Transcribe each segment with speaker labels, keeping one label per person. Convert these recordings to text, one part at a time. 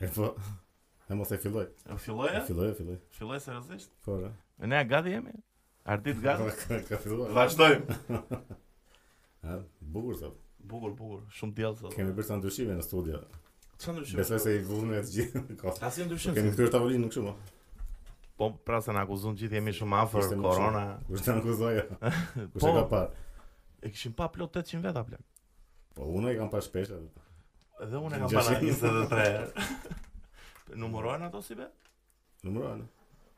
Speaker 1: E po. E mos e filloj.
Speaker 2: E filloj
Speaker 1: E
Speaker 2: e?
Speaker 1: filloj, e filloj.
Speaker 2: Filloj seriozisht?
Speaker 1: Po, re.
Speaker 2: E ne gati jemi? Ardit
Speaker 1: Ka-
Speaker 2: gati?
Speaker 1: ka- Ka filluar.
Speaker 2: Vazhdojmë.
Speaker 1: Ha, bukur sot.
Speaker 2: Bukur, bukur, shumë djallë sot.
Speaker 1: Kemi bërë sa ndryshime në studio.
Speaker 2: Çfarë ndryshim?
Speaker 1: Besoj se i vullnet të gjithë kohë.
Speaker 2: Asnjë ndryshim.
Speaker 1: Kemi këtyr tavolinë në kështu mo.
Speaker 2: Po pra se na akuzon gjithë jemi shumë afër
Speaker 1: Ishte më
Speaker 2: korona.
Speaker 1: Kur të akuzoja. Kur
Speaker 2: Po,
Speaker 1: se ka parë.
Speaker 2: e kishim pa plot 800 veta plak.
Speaker 1: Po unë e kam pa shpesh. edhe.
Speaker 2: Edhe unë e kam para
Speaker 1: 600.
Speaker 2: 23 herë. Numërohen ato si be?
Speaker 1: Numërohen.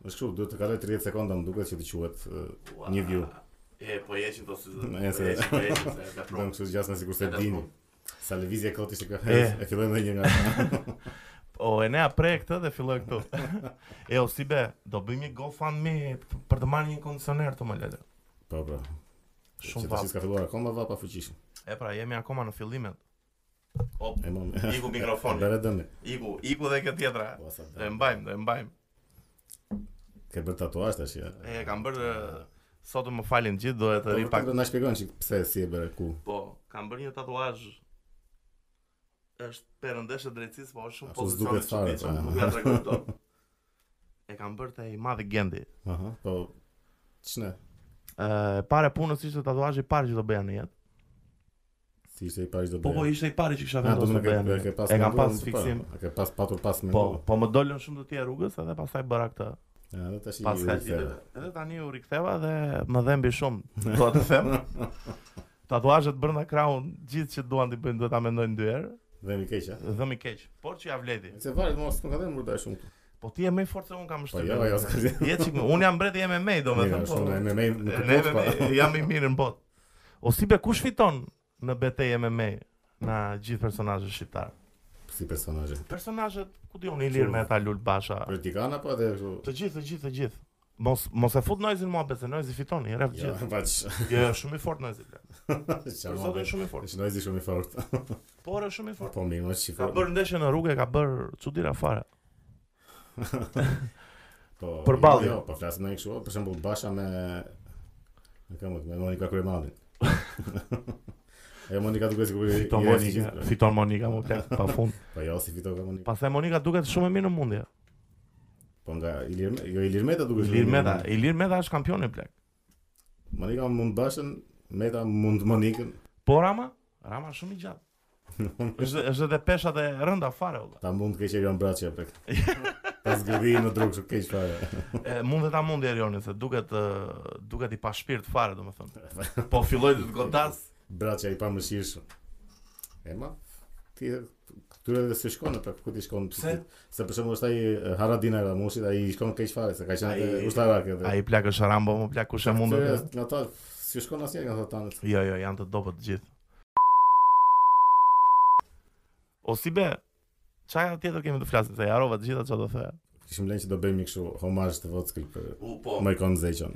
Speaker 1: Është kështu, duhet të kaloj 30 sekonda, më duket që të quhet ë, një view.
Speaker 2: E, po jeqin të si
Speaker 1: Ne, se-
Speaker 2: zë. Po jeqin, se e
Speaker 1: Vetëm kështu gjas sikur se
Speaker 2: Edhe
Speaker 1: dini.
Speaker 2: po.
Speaker 1: Sa lëvizje kot ishte kjo.
Speaker 2: E.
Speaker 1: E fillojmë edhe një nga ata.
Speaker 2: O, e ne apre këtë dhe filloj këtu. e, o, si be, do bëjmë një GoFundMe për të marrë një kondicioner të më lele.
Speaker 1: Po, po.
Speaker 2: Shumë
Speaker 1: Që tash
Speaker 2: vap.
Speaker 1: s'ka filluar akoma vapa fuqishëm.
Speaker 2: E pra, jemi akoma në fillimet. O,
Speaker 1: E mom.
Speaker 2: Iku mikrofoni.
Speaker 1: Dere dëmë.
Speaker 2: iku, iku dhe kjo tjetra.
Speaker 1: Po sa.
Speaker 2: Do e mbajmë, do e mbajmë.
Speaker 1: Ke bërë tatuazh tash ja.
Speaker 2: E, kam bërë, e, sot më falin gjithë, do e
Speaker 1: Po,
Speaker 2: të ri pak.
Speaker 1: vërtet do na shpjegon çik pse si e bëre ku.
Speaker 2: Po, kam bërë një tatuazh është perëndesh e drejtësisë, po është shumë
Speaker 1: Ashtu s'duket fare,
Speaker 2: çuditshëm,
Speaker 1: po.
Speaker 2: nuk ja tregoj dot. E kam bërë te i madhi Gendi.
Speaker 1: Aha, po ç'ne?
Speaker 2: Ë, para punës ishte tatuazhi i parë që do bëja në jetë.
Speaker 1: Si ishte i pari do bëj.
Speaker 2: Po po ishte i pari që kisha
Speaker 1: Ah, do të më ke
Speaker 2: vendosur të bëja. në
Speaker 1: ke- ke
Speaker 2: jetë.
Speaker 1: pas
Speaker 2: E kam
Speaker 1: menduar,
Speaker 2: pas
Speaker 1: po,
Speaker 2: fiksim.
Speaker 1: A ke pas patur pas me.
Speaker 2: Po, po më dolën shumë të tjerë rrugës edhe pastaj bëra këtë.
Speaker 1: Edhe tash i.
Speaker 2: Pas ka
Speaker 1: i-
Speaker 2: gjithë. Edhe tani u riktheva dhe më dhëmbi shumë, dua të them. Tatuazhet brenda krahun, gjithë që duan t'i bëjnë duhet ta mendojnë dy herë.
Speaker 1: Dhe mi keq. a?
Speaker 2: Dhëmi keq, por që ja vleti.
Speaker 1: Se varet mos nuk ka dhënë murdar shumë.
Speaker 2: Po ti je më i fortë se unë kam
Speaker 1: Po
Speaker 2: shtypur.
Speaker 1: jo, jo, s'ka gjë.
Speaker 2: Je çik, unë jam mbreti MMA, domethënë po.
Speaker 1: Shumë me me nuk
Speaker 2: Ne
Speaker 1: kuptoj. po.
Speaker 2: MMA jam i mirë në botë. O si be kush fiton në betejë MMA në gjithë personazhet shqiptar?
Speaker 1: Si personazhe.
Speaker 2: Personazhet ku diun Ilir Meta, Lul Basha,
Speaker 1: Politikan apo edhe kështu.
Speaker 2: të gjithë, të gjithë, të gjithë. Mos mos e fut Noizin mua besë, Noizi fiton, i rref
Speaker 1: Jo,
Speaker 2: gjithë.
Speaker 1: baç.
Speaker 2: Jo, jo, shumë i fortë Noizi. bla. Për
Speaker 1: Çfarë?
Speaker 2: sot është shumë i fortë.
Speaker 1: Është noizi shumë i fortë.
Speaker 2: Por është shumë i fortë.
Speaker 1: Po mirë, mos
Speaker 2: Ka
Speaker 1: shifoj.
Speaker 2: bërë ndeshje në rrugë, e ka bërë çuditëra fare.
Speaker 1: Po.
Speaker 2: Për
Speaker 1: jo,
Speaker 2: ballin.
Speaker 1: Jo, po flasim ne kështu, për shembull Basha me me këmbë me Monika Kryemalli. Ajo Monika duket sikur i-
Speaker 2: Fiton
Speaker 1: i-
Speaker 2: Monika,
Speaker 1: i-
Speaker 2: fiton Monika më plak pafund.
Speaker 1: Po jo, si fiton ka Monika.
Speaker 2: Pastaj Monika duket shumë e mirë në mundje.
Speaker 1: Po nga Ilir, jo Ilir Meta duket.
Speaker 2: Ilir
Speaker 1: shumë-
Speaker 2: Meta, Ilir Meta është kampion i plak.
Speaker 1: Monika mund Bashën, Meta mund Monikën.
Speaker 2: Po Rama, Rama është shumë i gjatë. është është edhe peshat e rënda fare valla.
Speaker 1: Ta mund keq Erion Braçi apo. Pas gëdhi në drog shumë keq fare.
Speaker 2: E mund dhe ta mundi Erioni se duket ë, duket i pa shpirt fare domethënë. Po filloi të të godas.
Speaker 1: Braçi i pamëshirshëm. Ema, ti këtyre dhe se shkon apo ku ti shkon?
Speaker 2: Pse?
Speaker 1: Se për shembull është ai e, Haradina Ramushit, ai i shkon keq fare se ka qenë
Speaker 2: Ai-
Speaker 1: edhe ushtarak edhe.
Speaker 2: Ai plak është Rambo, më plak kush e mund.
Speaker 1: Këtyre, Nga ta, si shkon asnjë nga ata tanët.
Speaker 2: Jo, jo, janë të dobët të gjithë. O si be, çaja tjetër kemi të flasim se jarova të gjitha çfarë do thoya.
Speaker 1: Kishim lënë që do bëjmë një kështu homazh të Vockël për
Speaker 2: U po.
Speaker 1: Majkon Zeqon.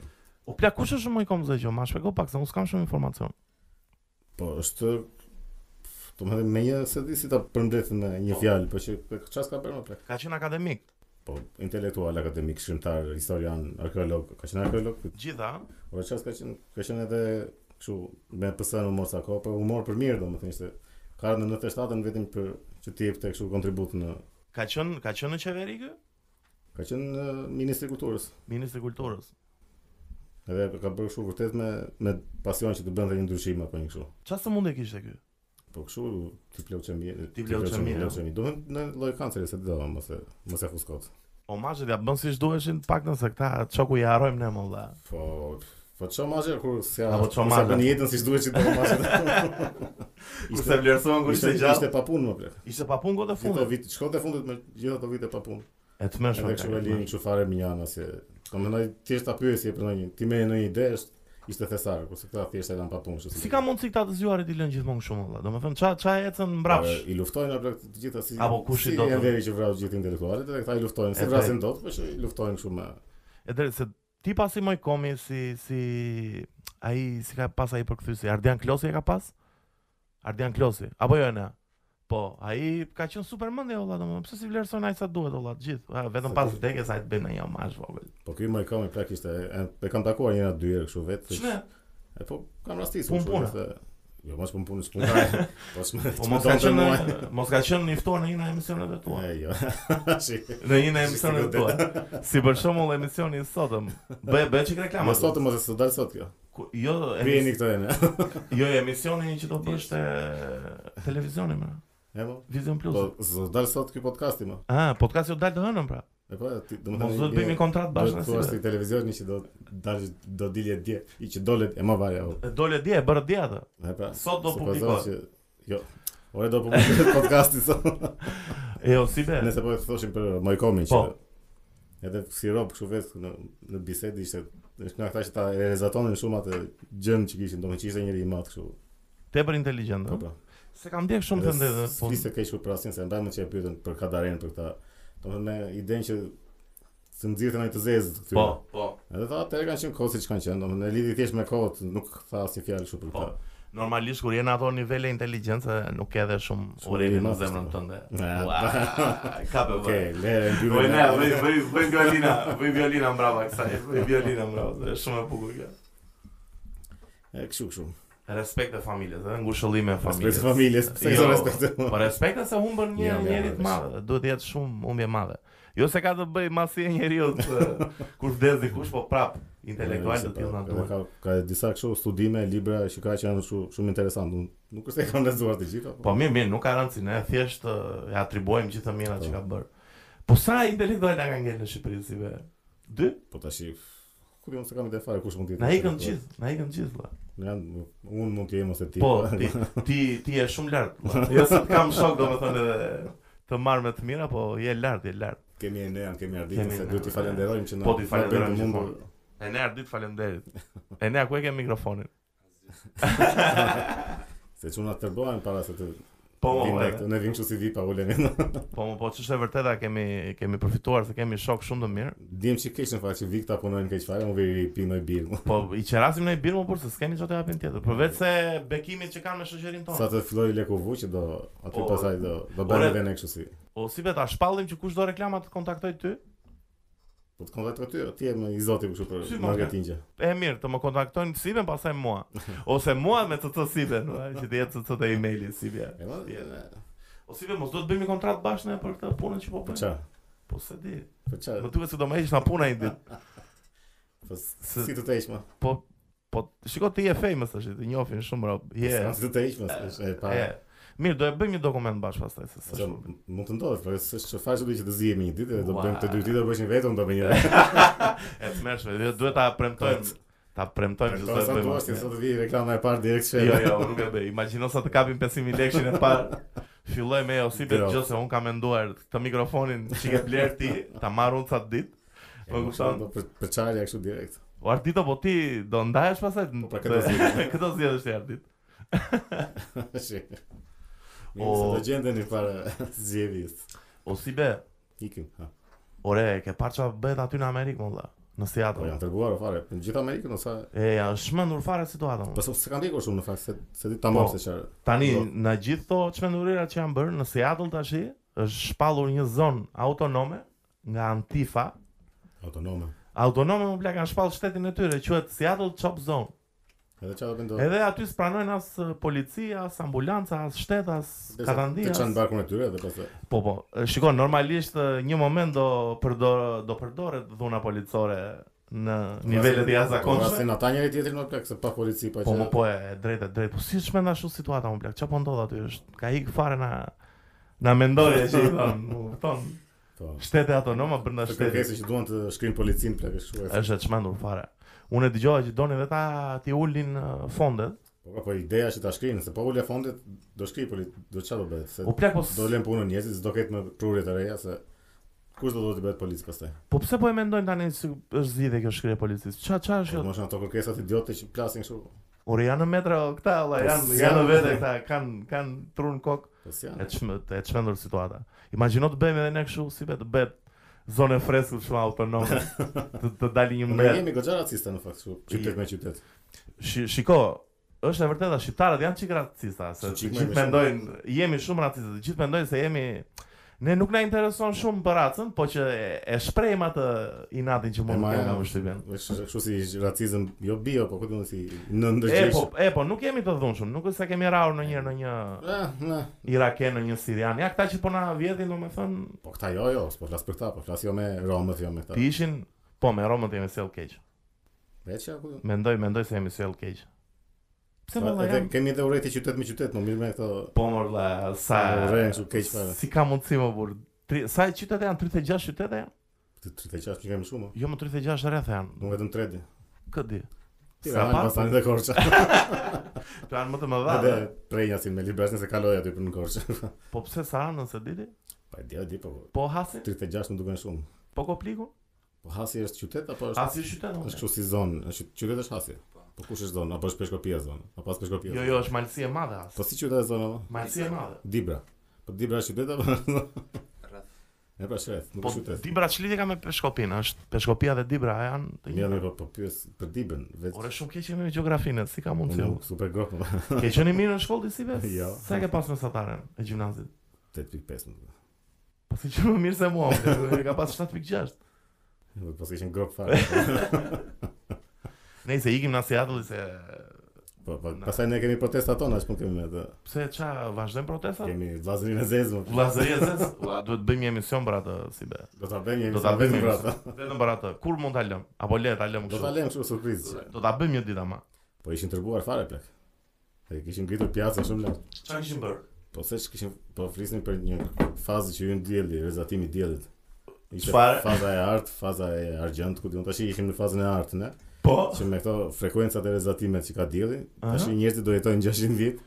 Speaker 2: U plak kush është më i komzë që ma shpjegoj pak se unë s'kam shumë informacion.
Speaker 1: Po është do më thënë me një se di si ta përmbledh në një
Speaker 2: Po.
Speaker 1: fjalë, po që çfarë ka bërë më plak.
Speaker 2: Ka qenë akademik,
Speaker 1: Po intelektual, akademik, shkrimtar, historian, arkeolog, ka qenë arkeolog,
Speaker 2: gjitha. ëh?
Speaker 1: Po çfarë ka qenë, ka qenë edhe kështu me PS-n humor sa kohë, po humor për mirë domethënë ishte ka ardhur në 97 vetëm për që të jepte kështu kontribut në
Speaker 2: Ka qenë ka qenë në qeveri kë?
Speaker 1: ka qenë eh, ministri i kulturës.
Speaker 2: Ministri i Kulturës.
Speaker 1: Edhe ka bërë kështu vërtet me me pasion që të bënte një ndryshim apo një kështu.
Speaker 2: Qa së mundje kishte ky?
Speaker 1: Po kështu ti pleu çemi,
Speaker 2: Ti pleu çemi,
Speaker 1: pleu
Speaker 2: ja.
Speaker 1: çemi. Do të në lloj kanceri se do mos e mos e fuskot.
Speaker 2: Omazhet ja bën siç duheshin pak nëse këta çoku i harrojmë ne më valla.
Speaker 1: Po po ço mazhe kur s'ka
Speaker 2: Apo ço
Speaker 1: kur s'ka
Speaker 2: mazhe.
Speaker 1: bën jetën siç duhet që do mazhe. Ishte
Speaker 2: vlerësuan
Speaker 1: ishte ishte pa punë më plek.
Speaker 2: Ishte pa punë gotë
Speaker 1: Gjithë ato
Speaker 2: fundit.
Speaker 1: vite, shkote fundit me gjithë ato vite pa punë.
Speaker 2: E të mëshme.
Speaker 1: Edhe kështu e lini kështu fare minjana se do më ndaj thjesht ta pyesi për ndonjë, ti merr në një ide, është ishte thesar, kurse këta thjesht e kanë pa punë. kështu
Speaker 2: Si ka mundsi këta të zgjuarit i lënë gjithmonë shumë valla. Domethënë ça ça ecën mbrapsh.
Speaker 1: Po, I luftojnë apo të gjitha si
Speaker 2: Apo kush i
Speaker 1: si
Speaker 2: do të-
Speaker 1: janë deri që vrau gjithë intelektualët, edhe këta i luftojnë,
Speaker 2: E
Speaker 1: se vrasin dot, po që i luftojnë kështu me
Speaker 2: E drejtë se ti pasi moj komi si si ai si ka pas ai përkthyesi Ardian Klosi e ka pas? Ardian Klosi. Apo jo ne? Po, ai ka qenë superman dhe olla domethënë, pse si vlerëson ai sa duhet olla të gjithë. Ha, vetëm pas vdekjes ai të bën një omazh vogël.
Speaker 1: Po ky më i kam plak ishte e, e kam takuar njëra dy herë kështu vetë.
Speaker 2: Çme?
Speaker 1: E po kam rastisur.
Speaker 2: Pun
Speaker 1: kështu,
Speaker 2: puna.
Speaker 1: ishte- Jo, mos pun punës pun. ka- Po s'më.
Speaker 2: Po
Speaker 1: s'më
Speaker 2: mos ka
Speaker 1: donte
Speaker 2: qenë
Speaker 1: mua.
Speaker 2: mos ka qenë një ftuar në një nga emisionet e tua.
Speaker 1: E jo. Si.
Speaker 2: Në një nga
Speaker 1: Si
Speaker 2: emisionet e
Speaker 1: si godet.
Speaker 2: tua. Si për shembull emisioni i sotëm. Bë bë çik reklamë.
Speaker 1: Mos sot mos e sot dal sot kjo.
Speaker 2: Ku- Jo,
Speaker 1: Vini
Speaker 2: emis,
Speaker 1: këto ene.
Speaker 2: jo emisioni që do bësh te televizioni më.
Speaker 1: E mo.
Speaker 2: Vision Plus.
Speaker 1: Po s'do dal sot ky podcasti më.
Speaker 2: Ah, podcast jo dal të hënën pra.
Speaker 1: E po ti do të
Speaker 2: Mos do të bëjmë një kontratë bashkë
Speaker 1: Bashkë
Speaker 2: në
Speaker 1: thua si
Speaker 2: si.
Speaker 1: televizionin që do dal do dilje dje, i që dolet e më varja. o.
Speaker 2: Dole dje, e bërë dje atë.
Speaker 1: E pra.
Speaker 2: Sot do
Speaker 1: supozohet
Speaker 2: publikohet.
Speaker 1: që- Jo. Ore do publikohet podcasti sot.
Speaker 2: Jo, si be.
Speaker 1: Nëse po e thoshim për Mojkomin që
Speaker 2: Po.
Speaker 1: edhe si rob kështu vetë në në bisedë ishte është nga ata që ta e rezatonin shumë atë gjën që kishin, domethënë që ishte njëri i madh kështu.
Speaker 2: Tepër inteligjent.
Speaker 1: Po
Speaker 2: ëh.
Speaker 1: po.
Speaker 2: Se kam ndjek shumë të ndezë. po-
Speaker 1: Flisë keq për rastin se ndaj më që e pyetën për Kadaren për këtë. Domethënë me idenë që se nxirrën ai të zezë këtyre.
Speaker 2: Po, po.
Speaker 1: Edhe ta atë kanë qenë kohë siç kanë qenë, domethënë e lidhi thjesht me kohët, nuk tha asnjë fjalë kështu për
Speaker 2: Po.
Speaker 1: këtë.
Speaker 2: Normalisht kur jena ato nivele inteligjencë nuk ke edhe shumë
Speaker 1: Shumë
Speaker 2: urimi në
Speaker 1: mas,
Speaker 2: zemrën
Speaker 1: po.
Speaker 2: tënde.
Speaker 1: Ja,
Speaker 2: Ua, Ka për
Speaker 1: Okej,
Speaker 2: vërë.
Speaker 1: le e
Speaker 2: Vëj ne, vëj
Speaker 1: mbyllë.
Speaker 2: vëj vëj violina, vëj violina mbrapa kësaj, vëj violina mbrapa, është shumë e bukur kjo.
Speaker 1: E kështu kështu.
Speaker 2: Respekt e familjes, ëh, ngushëllime e familjes.
Speaker 1: Respekt familjes, pse jo
Speaker 2: Jo,
Speaker 1: respekt.
Speaker 2: Po respekta se humbën një
Speaker 1: Jo, jo,
Speaker 2: njerit
Speaker 1: jo,
Speaker 2: madh, duhet të jetë shumë humbje madhe. Jo se ka të bëj masi e njeriu të- kur vdes dikush, po prap intelektual
Speaker 1: Se
Speaker 2: të tillë na
Speaker 1: pra,
Speaker 2: duhet.
Speaker 1: Ka ka disa kështu studime, libra që ka që janë shumë shumë interesante. Unë nuk është se e kam lexuar të gjitha,
Speaker 2: Po mirë, mirë, nuk ka rëndësi, ne thjesht ë, e atribuojmë gjithë të mirat që ka bërë. Po sa intelektual na ka ngelë në Shqipëri si be? Dy?
Speaker 1: po tash ku diun se kam ide fare kush mund të jetë.
Speaker 2: Na ikën
Speaker 1: intelektual.
Speaker 2: gjithë, na ikën gjithë. vlla.
Speaker 1: Ne janë unë mund të jem ose ti.
Speaker 2: Po, ti ti ti je shumë lart. vlla. Jo se të kam shok domethënë edhe të marr me të mira, po je lart, je lart.
Speaker 1: kemi e ne, kemi ardhitë
Speaker 2: Kemi
Speaker 1: se
Speaker 2: ne,
Speaker 1: duhet t'i falenderojmë që na.
Speaker 2: Po, t'i
Speaker 1: na
Speaker 2: falenderojmë
Speaker 1: bëndë
Speaker 2: gjithmonë.
Speaker 1: mundur.
Speaker 2: E ne ardit faleminderit. E ne ku e ke mikrofonin?
Speaker 1: Se çuna të bëhen para se të
Speaker 2: Po, mo,
Speaker 1: vinë
Speaker 2: e-
Speaker 1: këtu, ne vim kështu si vi pa ulën.
Speaker 2: Po, mo, po, ç'është e vërteta kemi kemi përfituar se kemi shok shumë të mirë.
Speaker 1: Dijem që keq në fakt që vi këta punojnë keq fare, unë vi pinoj birë.
Speaker 2: Po i qerasim në birë më por se s'kemi çfarë të japim tjetër. Përveç se bekimit që kanë me shoqërinë tonë.
Speaker 1: Sa të filloi Lekovu që do aty
Speaker 2: Po,
Speaker 1: pasaj do do
Speaker 2: ore-
Speaker 1: bëjmë edhe ne kështu si.
Speaker 2: O Po, si beta, shpallim që kush do reklama të kontaktoj ty?
Speaker 1: Po të kontaktoj ty, ti je më i zoti kështu për
Speaker 2: Si, ma,
Speaker 1: marketing. që.
Speaker 2: E mirë, të më kontaktojnë Siben pastaj mua. Ose mua me të të Siben, ua, që të jetë të të e-maili Sibja.
Speaker 1: E ma,
Speaker 2: Ja. O Siben, mos do të bëjmë një kontratë bashkë ne për këtë punën që po
Speaker 1: Po
Speaker 2: bëjmë.
Speaker 1: qa,
Speaker 2: Po se di.
Speaker 1: po qa,
Speaker 2: Më duhet se do më heqësh na puna një ditë.
Speaker 1: po s-
Speaker 2: se-
Speaker 1: si të të iqma?
Speaker 2: Po po shiko ti je famous tash, ti njohin shumë rob. Je.
Speaker 1: Si të të iqma, s'është e pa.
Speaker 2: Je. po Mirë, do e bëjmë një dokument bashkë pastaj se
Speaker 1: Ose
Speaker 2: s'është. problem.
Speaker 1: m- mund të ndodhet, po s'është që faqe do që të zihemi një ditë, edhe do
Speaker 2: Ua.
Speaker 1: bëjmë të dy ditë, do bësh një vetëm, do bëj një vetë.
Speaker 2: E të mërshme, dhe duhet ta premtojmë. Ta premtojmë që
Speaker 1: Do
Speaker 2: do e
Speaker 1: sa
Speaker 2: bëjmë.
Speaker 1: duash ti
Speaker 2: atë.
Speaker 1: sot të vi reklama e parë direkt shë.
Speaker 2: Jo, jo, nuk e bëj. Imagjino sa të kapin 5000 lekshin e parë. Filloj me Josipet
Speaker 1: Jo.
Speaker 2: gjose, un kam menduar këtë mikrofonin që ke bler ti, ta marr unë sa ditë. Po kupton.
Speaker 1: Do për për çarja kështu direkt.
Speaker 2: O Ardito, po ti do ndahesh pasaj?
Speaker 1: Po, pra, këto zgjedhje.
Speaker 2: këto zgjedhje është i Ardit.
Speaker 1: Shi.
Speaker 2: O.
Speaker 1: Mirë, se do gjendeni eh, para zgjedhjes.
Speaker 2: O si be,
Speaker 1: Ikim. ha.
Speaker 2: ore, e ke parë çfarë bëhet aty në Amerikë, më valla. Në
Speaker 1: Po
Speaker 2: Seattle.
Speaker 1: janë treguar o fare, në gjithë Amerikën ose
Speaker 2: E, janë shmendur fare situata. më.
Speaker 1: Po s'e kanë ndjekur shumë në fakt se se ti tamam
Speaker 2: Po.
Speaker 1: se çfarë.
Speaker 2: Tani,
Speaker 1: Do.
Speaker 2: në gjithë to çmendurira që janë bërë në Seattle tashi, është shpallur një zonë autonome nga Antifa,
Speaker 1: Autonome.
Speaker 2: Autonome më plak kanë shpall shtetin e tyre, quhet Seattle Chop Zone.
Speaker 1: Edhe çfarë do bëndo?
Speaker 2: Edhe aty s'pranojnë as eh, policia, as ambulanca, as shtet, as katandi.
Speaker 1: Të çan
Speaker 2: As...
Speaker 1: barkun e tyre edhe pastaj.
Speaker 2: Po po, eh, shikon normalisht eh, një moment do përdor do përdoret dhuna policore në
Speaker 1: Pra
Speaker 2: nivelet e jashtëzakonshme.
Speaker 1: Rastin ata njëri tjetrin më plak se pa polici pa
Speaker 2: Po më po e e drejtë, e drejtë. Po si shmenda ashtu situata më plak? Çfarë po ndodh aty? Është ka ik fare na na mendoje që i thon, më kupton.
Speaker 1: Po.
Speaker 2: Shtete autonome brenda
Speaker 1: Të
Speaker 2: shtetit.
Speaker 1: kërkesë që duan të shkrinë policin plak është kështu. e
Speaker 2: Është e çmendur fare. Unë e dëgjova që donin edhe ta ti ulin eh, fondet
Speaker 1: Po po ideja që ta shkrinë, se po ulja fondet do shkri poli, do çfarë do bëhet? Se
Speaker 2: U plak po s-
Speaker 1: do lën punën njerëzit, s'do ketë më prurje të reja se kush do do të bëhet polic pastaj.
Speaker 2: Po pse po e mendojnë tani se është zgjidhje kjo shkrirje e policisë? Ça ça është
Speaker 1: Po
Speaker 2: kjo?
Speaker 1: mos janë ato kërkesat idiote që plasin kështu.
Speaker 2: Ore janë në metro këta valla,
Speaker 1: Po,
Speaker 2: janë
Speaker 1: si
Speaker 2: janë në
Speaker 1: janë?
Speaker 2: vete këta, kanë kanë trun kok,
Speaker 1: Po si
Speaker 2: e
Speaker 1: janë?
Speaker 2: çmë e çmendur situata. Imagjino të bëjmë edhe ne kështu si vetë bëhet zonë e freskët shumë autonome. të, të dali një
Speaker 1: Po, Ne
Speaker 2: mbret.
Speaker 1: jemi goxha raciste në fakt kështu, qytet me qytet.
Speaker 2: Shi- shiko, është e vërteta, shqiptarët janë çik racista, se
Speaker 1: Çik
Speaker 2: të
Speaker 1: me-
Speaker 2: gjithë
Speaker 1: me shumë-
Speaker 2: mendojnë jemi shumë racistë, të gjithë mendojnë se jemi ne nuk na intereson shumë për racën, po që e- e shprehim atë inatin që
Speaker 1: E
Speaker 2: mund të
Speaker 1: ma-
Speaker 2: kemë nga ushtypjen.
Speaker 1: Është kështu si racizëm, jo bio, po këtë mund si në
Speaker 2: E
Speaker 1: ndërgjesh.
Speaker 2: po, e po, nuk jemi të dhunshëm, nuk është se kemi rarë në një në një
Speaker 1: Eh, ne.
Speaker 2: iraken, në një sirian. Ja këta që po na vjedhin, domethënë,
Speaker 1: Po këta jo, jo, s'po flas për këta, po flas jo me Romët, jo me këta.
Speaker 2: ti ishin po me Romët jemi sjell keq.
Speaker 1: Veç ja ku.
Speaker 2: Mendoj, mendoj se jemi sjell keq. Pse më
Speaker 1: Edhe
Speaker 2: jam?
Speaker 1: kemi edhe urrëti qytet me qytet, më mirë me këto.
Speaker 2: Po më valla, sa
Speaker 1: Urren kështu keq fare.
Speaker 2: Si ka mundësi më burr? Tri- Sa qytete janë 36 qytete janë?
Speaker 1: të 36 që kemi shumë.
Speaker 2: Jo më 36 rreth janë.
Speaker 1: Nuk vetëm 3 di.
Speaker 2: Këtë di. Sa
Speaker 1: Tirana,
Speaker 2: pa?
Speaker 1: Pastani dhe Korça.
Speaker 2: Këto janë më të mëdha.
Speaker 1: Edhe
Speaker 2: dhe.
Speaker 1: Prenjasin me Librasnin se kaloi aty për në Korçë.
Speaker 2: Po pse Saranën se diti?
Speaker 1: Pa e di, e di po.
Speaker 2: Po Hasin?
Speaker 1: 36 nuk duken shumë.
Speaker 2: Po Koplikun?
Speaker 1: Po Hasi është qytet apo është
Speaker 2: Hasi është qytet.
Speaker 1: është
Speaker 2: okay.
Speaker 1: kështu si zonë, është qytet është Hasi. Po kush është zonë? Apo është Peshkopia zonë? Apo pas Peshkopia?
Speaker 2: Jo, jo, është malësi e madhe Hasi.
Speaker 1: Po si qytet është zona? apo?
Speaker 2: Malësi e madhe.
Speaker 1: Dibra. Po Dibra është qytet apo?
Speaker 3: Rreth.
Speaker 1: E pra shret, nuk
Speaker 2: Po
Speaker 1: është qytet.
Speaker 2: Dibra çlidhje ka me Peshkopin, është Peshkopia dhe Dibra janë të
Speaker 1: Mirë,
Speaker 2: njëjta.
Speaker 1: mirë, po po pyes për Dibrën,
Speaker 2: Ore
Speaker 1: vetë.
Speaker 2: shumë keq jemi me gjeografinë, si ka mundsi?
Speaker 1: Unë super grof, po,
Speaker 2: Ke qenë i mirë në shkollë disi vetë?
Speaker 1: Jo.
Speaker 2: Sa e ke pas mesataren e gjimnazit?
Speaker 1: 8.5. nuk-
Speaker 2: Po si që më mirë se mua, më ka pas 7.6.
Speaker 1: nuk- Po s'kishin grof fare.
Speaker 2: Ne se ikim në Seattle se
Speaker 1: Po, po,
Speaker 2: Na.
Speaker 1: pastaj ne kemi protestat tona, s'po kemi me atë.
Speaker 2: pse ça vazhdojmë protestat?
Speaker 1: Kemi vllazërinë e zezë. mo.
Speaker 2: Vllazëria zez, ua, duhet bëjmë një emision për atë si be.
Speaker 1: Do ta bëjmë,
Speaker 2: Do
Speaker 1: jemi
Speaker 2: ta
Speaker 1: sa
Speaker 2: bëjmë
Speaker 1: vetëm brata.
Speaker 2: emision, vetëm për atë. Kur mund ta lëm? Apo le ta lëm
Speaker 1: Do ta
Speaker 2: kështu.
Speaker 1: lëm kështu surprizë.
Speaker 2: Do ta bëjmë një ditë ama.
Speaker 1: Po ishin tërbuar fare plak. E kishin ngritur pjatën shumë lart.
Speaker 2: Çfarë kishim bër?
Speaker 1: Po se që kishin po flisnin për një fazë që hyn dielli, rezatimi i diellit. Ishte
Speaker 2: Çfare?
Speaker 1: faza e art, faza e argjend, ku diun tash ishim në fazën e art, ne,
Speaker 2: Po.
Speaker 1: që me këto frekuencat e rezatimet që ka dielli, tash
Speaker 2: Aha.
Speaker 1: njerëzit do jetojnë 600 vjet.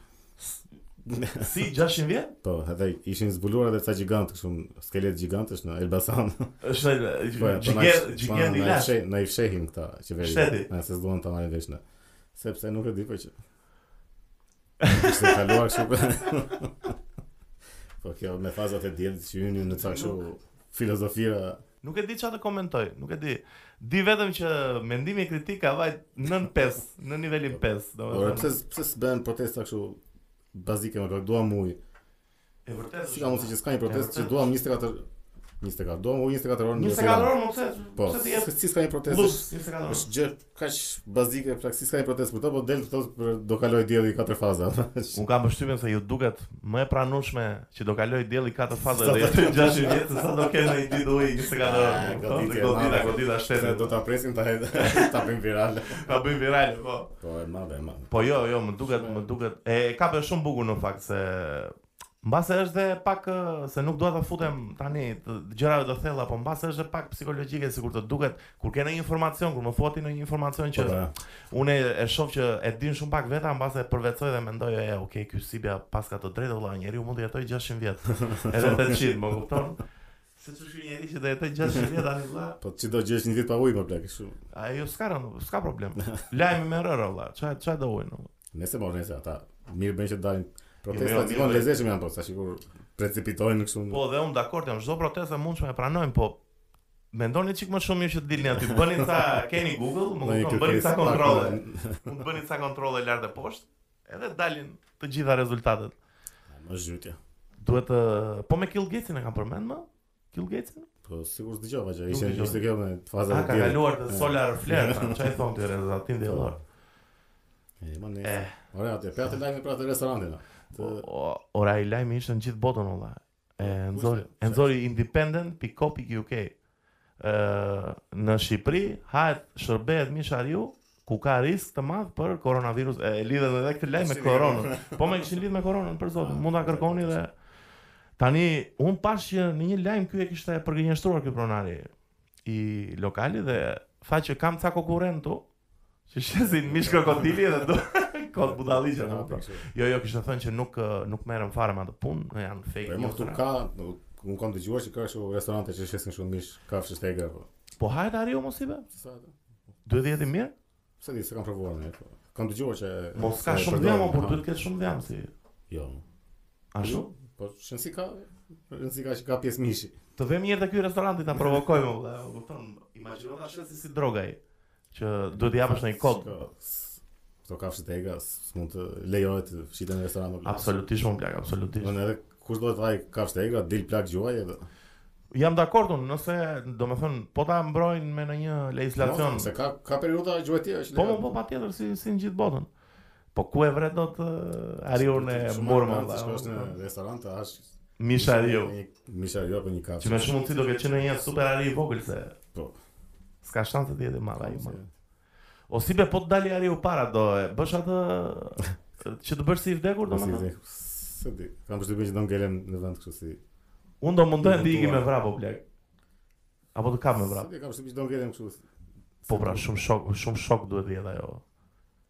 Speaker 2: Si 600 vjet?
Speaker 1: Po, edhe ishin zbuluar edhe ca gigantë, kështu skelet gjigantësh në Elbasan.
Speaker 2: Është
Speaker 1: Po, ja, po, na
Speaker 2: gjigjet
Speaker 1: i-
Speaker 2: gjigjet
Speaker 1: po,
Speaker 2: i
Speaker 1: na i
Speaker 2: lash.
Speaker 1: fshe- Na i fshehin këta qeveri.
Speaker 2: Shteti.
Speaker 1: Nëse s'duan ta marrin vesh në. Sepse nuk e di po që. Ishte kaluar kështu. për- po kjo me fazat e diellit që hynin në ca kështu filozofira.
Speaker 2: Nuk e di çfarë të komentoj, nuk e di. Di vetëm që mendimi kritik ka vajt nën 5, në nivelin 5,
Speaker 1: Ora Po, pse
Speaker 2: domethënë.
Speaker 1: pse s'bën protesta kështu bazike më plak, duam ujë.
Speaker 2: E vërtetë.
Speaker 1: Si ka mundësi që s'ka një protestë
Speaker 2: vërtet.
Speaker 1: që duam 24 24 duam ujë 24 orë. në
Speaker 2: 24
Speaker 1: Tiranë.
Speaker 2: orë më pse?
Speaker 1: Po,
Speaker 2: pse ti jep?
Speaker 1: s- si s'ka një protestë.
Speaker 2: Lus, 24 orë.
Speaker 1: është gjë kaq bazike, pra si s'ka një protestë për to, po del këto për- do kaloj dielli katër faza.
Speaker 2: Un kam përshtypjen se ju duket më e pranueshme që do kaloj dielli katër faza
Speaker 1: Sa
Speaker 2: dhe
Speaker 1: do-
Speaker 2: jetë 60 vjet se sa do kenë një ditë ujë 24 orë.
Speaker 1: Ah, goditje e
Speaker 2: Godita,
Speaker 1: madhe.
Speaker 2: godita
Speaker 1: Se
Speaker 2: shtetit.
Speaker 1: do ta presim ta ta bëjmë virale.
Speaker 2: Ta bëjmë viral, po.
Speaker 1: Po e madhe, e madhe.
Speaker 2: Po jo, jo, më duket, më duket. E ka për shumë bukur në fakt se mbase është dhe pak ë, se nuk dua ta futem tani të gjërave të thella, po mbase është dhe pak psikologjike sikur të duket kur ke ndonjë informacion, kur më thuat ti ndonjë informacion
Speaker 1: Po
Speaker 2: që
Speaker 1: ta,
Speaker 2: unë e shoh që e din shumë pak veta, mbase e përvetsoj dhe mendoj, e, okay, ky Sibia pas ka të drejtë vëlla, njeriu mund të jetoj 600 vjet. Edhe 800, më kupton? Se çu ky njeri që do jetoj 600 vjet tani vëlla,
Speaker 1: po ti do gjesh një ditë pa ujë më plak, kështu.
Speaker 2: ajo s'ka rënë, s'ka problem. Lajmi me rërë vëlla, ç'a ç'a do unë.
Speaker 1: Nëse po nëse ata mirë bën që dalin
Speaker 2: Jo, jo,
Speaker 1: protesta,
Speaker 2: mirë
Speaker 1: zikon
Speaker 2: bën.
Speaker 1: lezeshëm janë po, sa sikur precipitojnë kështu. Po,
Speaker 2: Po dhe unë dakord jam, çdo protestë e mundshme e pranojmë, po mendoni çik më shumë mirë që të dilni aty. Bëni ca keni Google, më kupton, bëni ca kontrolle. Mund të bëni ca kontrolle lart e poshtë, edhe dalin të gjitha rezultatet.
Speaker 1: Më zhytja.
Speaker 2: Duhet të po me Kill Gatesin e kam përmend më? Kill Gatesin?
Speaker 1: Po sigurisht dëgjova që
Speaker 2: Nuk
Speaker 1: ishte
Speaker 2: dëgjova.
Speaker 1: ishte kjo me faza
Speaker 2: A
Speaker 1: e
Speaker 2: ka
Speaker 1: diellit.
Speaker 2: kaluar të
Speaker 1: E.
Speaker 2: Solar Flare, tani, çfarë i thon ti rezatin diellor?
Speaker 1: E, më ne.
Speaker 2: Eh,
Speaker 1: Ora, atë pjatë lajmi pra të restorantin. a.
Speaker 2: o-
Speaker 1: Të-
Speaker 2: o- ora i lajmi ishte në gjithë botën olla. E
Speaker 1: Ku
Speaker 2: nxori,
Speaker 1: ishte?
Speaker 2: e nxori independent.co.uk. Ë në Shqipëri hahet shërbehet mishariu ku ka risk të madh për koronavirus. E lidhen edhe këtë lajm me
Speaker 1: Si
Speaker 2: koronën. Po më kishin lidh me koronën për zotin.
Speaker 1: Ah,
Speaker 2: Mund ta kërkoni dhe tani un pash që në një lajm ky e kishte përgënjeshtruar ky pronari i lokalit dhe tha që kam ca konkurrentu që shesin mish krokodili dhe do kot budalliqe.
Speaker 1: Ah, po, kështu.
Speaker 2: Jo, jo, kishte thënë që nuk ë, nuk merrem fare me atë punë, janë
Speaker 1: Po
Speaker 2: fake
Speaker 1: e mo këtu
Speaker 2: news-ra.
Speaker 1: ka, unë kam dëgjuar që ka kështu restorante që shesin shumë mish, kafshë stegra po.
Speaker 2: Po hajt ariu mos i bë.
Speaker 1: Sa ata?
Speaker 2: Duhet të jeti mirë.
Speaker 1: Se di, se kam provuar ne. po. Kam dëgjuar që
Speaker 2: Mos ka
Speaker 1: se
Speaker 2: Po, shumë
Speaker 1: përdorin,
Speaker 2: djamo, por
Speaker 1: aha.
Speaker 2: duhet të ketë shumë djam si.
Speaker 1: Jo.
Speaker 2: Ashtu?
Speaker 1: Po shënsi ka, shënsi ka që ka pjesë mishi.
Speaker 2: Të vëmë një herë te ky restoranti ta provokojmë, valla, e kupton? Imagjino ta shesi si droga ai. Që duhet të japësh një kod.
Speaker 1: S'ka- s- Këto kafshët e ega s- s'mund të lejohet të shiten në restoran. me plak.
Speaker 2: Absolutisht unë plak, absolutisht.
Speaker 1: Unë edhe kush do të vaj kafshët e ega, dil plak gjuaj edhe.
Speaker 2: Jam dakord unë, nëse, do me thënë, po ta mbrojnë me në një legislacion,
Speaker 1: Mos, Se ka ka periudha gjuajtje është.
Speaker 2: po më po pa tjetër si, si në gjithë botën. Po ku e vret do të arion e murmë,
Speaker 1: Të shkosh në
Speaker 2: po.
Speaker 1: restoran të hash
Speaker 2: misha jo. ariu.
Speaker 1: një- Misha ariu apo një kafshë.
Speaker 2: Që me shumë mundësi do ke qenë një super ari i vogël se
Speaker 1: Po.
Speaker 2: s'ka shanse të jetë i madh ai më. O si be po të dali ariu para do e bësh atë që të bësh si i vdekur
Speaker 1: Po, Si
Speaker 2: domethënë.
Speaker 1: di, se di. Kam përshtypjen që do ngelen në vend kështu si.
Speaker 2: Unë do mundohem të
Speaker 1: Eventual.
Speaker 2: ikim me vrap o blek. Apo të kap me vrap.
Speaker 1: Se di, Kam përshtypjen që do ngelen kështu. si-
Speaker 2: Po pra, shumë shok, shumë shok duhet të jetë ajo.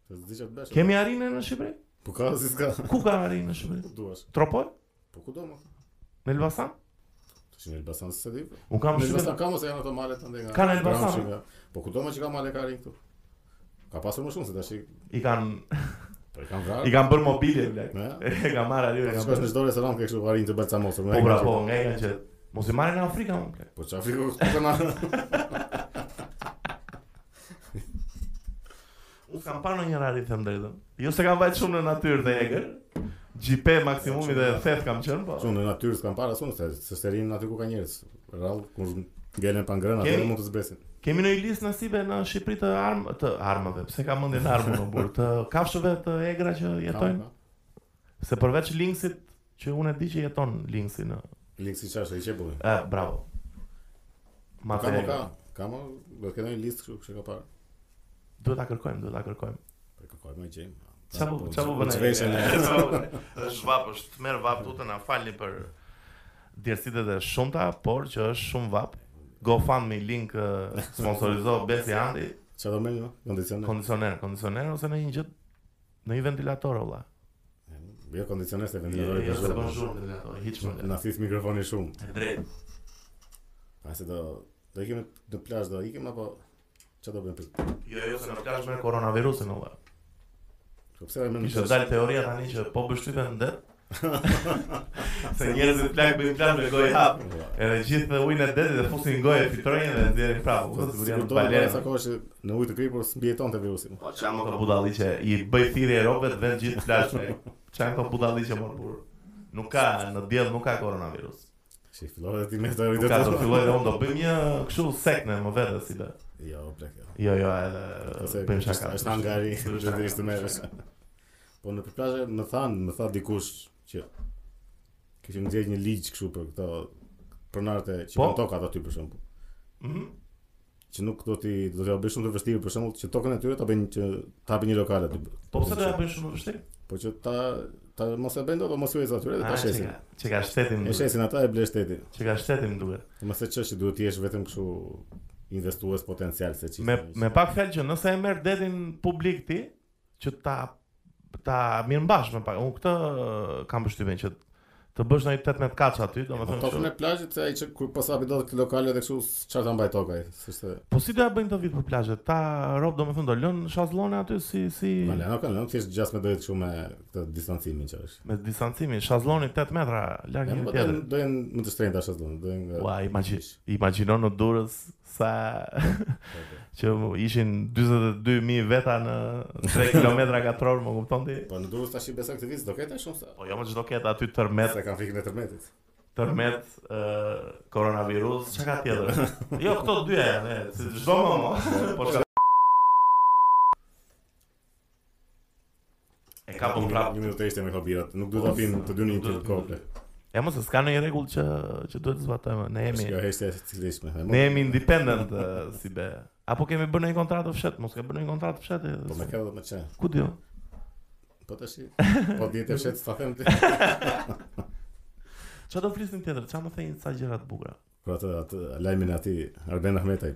Speaker 1: Se di çfarë bësh.
Speaker 2: Kemi arinë në Shqipëri?
Speaker 1: Po ka si s'ka.
Speaker 2: Ku ka arinë në Shqipëri?
Speaker 1: Ku duash.
Speaker 2: Tropoj?
Speaker 1: Po ku do më?
Speaker 2: Në Elbasan?
Speaker 1: Tash në Elbasan se di.
Speaker 2: Unë kam
Speaker 1: Në
Speaker 2: shumë
Speaker 1: Elbasan ka mos janë ato male tande nga.
Speaker 2: Ka në Elbasan?
Speaker 1: Gramsci nga- Po ku do më që ka male ka ri këtu. Ka pasur më shumë se tash i-
Speaker 2: i kanë
Speaker 1: po i kanë vrarë.
Speaker 2: i kanë bërë mobilje blek.
Speaker 1: Ne?
Speaker 2: E ka marrë ariu,
Speaker 1: Po
Speaker 2: e ka
Speaker 1: shkosh në
Speaker 2: bërë.
Speaker 1: çdo restoran ke kështu varin të balcamosur.
Speaker 2: Po pra, po, nga e kanë qenë. Mos i marrin në Afrikë, më blek.
Speaker 1: Po çfarë frikë këtu kanë?
Speaker 2: Unë kam parë në një rari, them drejtën. Jo se kam vajtë shumë në natyrë të egër. Gjipe maksimumi dhe theth kam qënë, po.
Speaker 1: Shumë në natyrë s'kan para asun se se serin aty ku ka njerëz. Rall kur ngelen pa ngrënë
Speaker 2: Kemi-
Speaker 1: atë mund të zbresin.
Speaker 2: Kemi në i listë nasibe në Shqipëri të armë, të armëve, pse ka mendin armë në burë, të kafshëve të egra që jetojnë,
Speaker 1: Ka- ka.
Speaker 2: se përveç linksit, që unë e di që jeton linksi në...
Speaker 1: Liksi çfarë i çepulli.
Speaker 2: E, bravo. Ma
Speaker 1: Ka
Speaker 2: të
Speaker 1: mo ka,
Speaker 2: egra.
Speaker 1: ka mo, do të ketë një listë kështu që ka parë.
Speaker 2: Duhet ta kërkojmë, duhet ta kërkojmë.
Speaker 1: Po kërkoj më gjej.
Speaker 2: Qa po, qa po
Speaker 1: Po
Speaker 2: bëna
Speaker 1: çveshën.
Speaker 2: është vap, është të merë vap tutën, a falni për djerësitet e shumëta, por që është shumë vap. GoFundMe link eh, sponsorizo Besi Andi,
Speaker 1: Çfarë do merrni? Kondicioner.
Speaker 2: kondicioner, kondicioner ose në një gjë në një ventilator olla.
Speaker 1: Jo kondicioner se
Speaker 2: Jo,
Speaker 1: vendimori
Speaker 2: jo, se bën
Speaker 1: për
Speaker 2: zhurmë ventilator, hiç më.
Speaker 1: Na thith mikrofoni shumë.
Speaker 2: E drejtë.
Speaker 1: A se do do ikim në plazh do ikim apo çfarë do bëjmë? për-
Speaker 2: Jo, jo, se në plazh me koronavirusin olla.
Speaker 1: Po pse më
Speaker 2: Kishte dalë teoria tani që po bështypen në det. se njerëzit plak bëjnë plazh me gojë hap. Edhe gjithë ujin e detit dhe fusin gojë, filtrojnë dhe nxjerrin prapë.
Speaker 1: Po
Speaker 2: Ua,
Speaker 1: sigurt
Speaker 2: sigurisht
Speaker 1: do të bëj sa kohë që në ujë të kripur s'mbjeton te virusi.
Speaker 2: Po qa më ka budalli që i bëj thirrje e robëve të vend gjithë flash me. Qa më ka budalli që mor burr. Nuk ka në diell nuk ka koronavirus.
Speaker 1: Si fillove ti me teori
Speaker 2: Nuk ka do filloj dhe unë do bëjmë një kështu sekt në më vetë si be.
Speaker 1: Jo, plak. jo.
Speaker 2: Jo, jo,
Speaker 1: Ose
Speaker 2: edhe bëjmë shaka.
Speaker 1: Është angari,
Speaker 2: Bëjmë
Speaker 1: duhet
Speaker 2: shaka.
Speaker 1: të ishte merresh. Po në plazhe më than, më tha dikush që kishim nxjerr një ligj kështu për këto pronarët e që
Speaker 2: Po.
Speaker 1: kanë tokat aty për shembull,
Speaker 2: Mhm.
Speaker 1: që nuk do ti do t'ja bëj shumë të vështirë për shembull që tokën e tyre ta bëjnë që ta hapin një lokal aty.
Speaker 2: Po pse do ja bëjmë shumë të vështirë?
Speaker 1: Po që ta ta mos e bëjnë dot, po mos u ecë atyre dhe
Speaker 2: Ah,
Speaker 1: ta
Speaker 2: që
Speaker 1: shesin.
Speaker 2: ka- Që ka shtetin
Speaker 1: E
Speaker 2: duhet.
Speaker 1: shesin ata e ble shteti.
Speaker 2: Që ka shtetin duhet.
Speaker 1: Mos e çesh që duhet të jesh vetëm kështu investues potencial se çfarë.
Speaker 2: Me me pak fjalë që nëse e merr detin publik ti, që ta ta mirëmbash me pak. Unë këtë kam përshtypjen që të bësh ndonjë 18 kaç aty, domethënë.
Speaker 1: Po, Tokën
Speaker 2: që-
Speaker 1: e plazhit se ai që kur pas hapi dot lokale dhe kështu çfarë ta mbaj tokaj, sepse
Speaker 2: Po si do ja bëjnë të vit për plazhe? Ta rob domethënë do lënë shazllone aty si si
Speaker 1: Vale, nuk kanë, nuk thjesht gjasë me dojtë kështu me këtë distancimin që është.
Speaker 2: me distancimin, shazlloni 8 metra larg
Speaker 1: Ja,
Speaker 2: njëri
Speaker 1: po
Speaker 2: tjetrit.
Speaker 1: do jenë më të shtrenjta ashtu do jenë. nga-
Speaker 2: Ua, imagji, imagjino në Durrës sa
Speaker 1: Po,
Speaker 2: që ishin 42000 veta në 3 kilometra katror, më kupton ti?
Speaker 1: Po në Durrës tash i besa këtë vit do ketë shumë sa.
Speaker 2: Po jo më çdo ketë aty tërmet,
Speaker 1: Se kanë frikën e tërmetit.
Speaker 2: tërmet ë koronavirus, çka ka tjetër? Jo, këto dyja janë, e, si çdo më mo. Po çka E po kapëm prapë
Speaker 1: Një minutë ishte me këto birat. Nuk duhet ta
Speaker 2: Po,
Speaker 1: pim të dy një
Speaker 2: nuk
Speaker 1: të
Speaker 2: duhet-
Speaker 1: kople.
Speaker 2: E mos s'ka ndonjë rregull që që duhet të zbatojmë. Ne jemi
Speaker 1: Kjo heshtja e cilishme. e mo-
Speaker 2: ne jemi independent eh, si be. Apo kemi bërë ndonjë kontratë fshet, mos ka bërë ndonjë kontratë fshet. eh,
Speaker 1: Po me
Speaker 2: si-
Speaker 1: këtë do të çe.
Speaker 2: Ku diu?
Speaker 1: Po tash. i- Po dihet e fshet s'ta them ti.
Speaker 2: Çfarë do flisim tjetër? Çfarë më thënë sa gjëra të bukura?
Speaker 1: Por atë atë lajmin aty Arben Ahmetaj.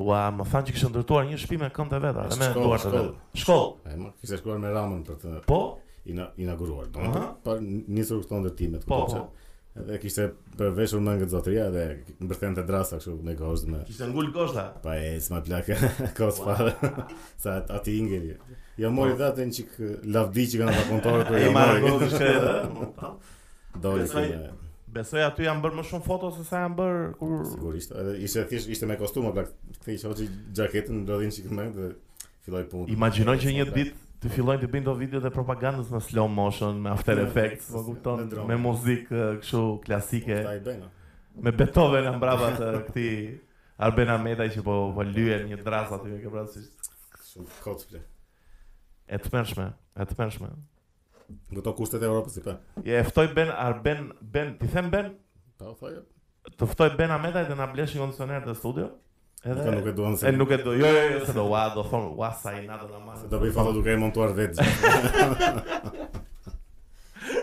Speaker 2: Ua, më thanë që kishte ndërtuar një shtëpi me këmbë të veta,
Speaker 1: E,
Speaker 2: dhe me
Speaker 1: shkollë,
Speaker 2: duart të
Speaker 1: shkollë.
Speaker 2: veta. Shkollë.
Speaker 1: Ai më kishte shkruar me Ramën për të
Speaker 2: Po,
Speaker 1: ina, inauguruar. Do
Speaker 2: Aha.
Speaker 1: pa nisur këto ndërtimet.
Speaker 2: po,
Speaker 1: kupton
Speaker 2: po.
Speaker 1: çe? Edhe kishte përveshur më nga zotëria dhe mbërthente drasa kështu me gozhd me
Speaker 2: Kishte ngul goshta.
Speaker 1: pa e ecë ma plakë kos fare sa at- ati ingeri. Ja mori
Speaker 2: Po.
Speaker 1: datën çik lavdi që kanë rakontuar për
Speaker 2: E
Speaker 1: ja
Speaker 2: marrë
Speaker 1: mori.
Speaker 2: gozhë shkretë.
Speaker 1: Doli si
Speaker 2: Besoj-
Speaker 1: me-
Speaker 2: Besoj aty janë bërë më shumë foto se sa janë bërë kur
Speaker 1: sigurisht. Edhe ishte thjesht ishte me kostumë plak. Kthej hoqi xhaketën ndodhin çik më dhe filloi punë.
Speaker 2: Imagjinoj që një ditë të Ti fillojnë të bëjnë do video dhe propagandës në slow motion, me After
Speaker 1: Me effects,
Speaker 2: Effects, po kupton,
Speaker 1: me drone.
Speaker 2: me muzikë eh, kështu klasike,
Speaker 1: Ta i bëjnë.
Speaker 2: me Beethoven në mbrapa të këtij Arben Amedaj që po po lyen një dras aty ke pra si
Speaker 1: Shumë kocple.
Speaker 2: e tmerrshme, e tmerrshme.
Speaker 1: Nga to kushtet e Europës i pe.
Speaker 2: Je e ftoj Ben Arben Ben, ti them Ben,
Speaker 1: Pa, u thoja.
Speaker 2: të ftoj Ben Amedaj dhe na blesh një kondicioner të studio.
Speaker 1: Ata nuk e duan se
Speaker 2: E nuk e do, jo, jo, jo, se do, ua, do thonë, ua, sa i na do na marrë.
Speaker 1: se do bëj foto duke e montuar vetë.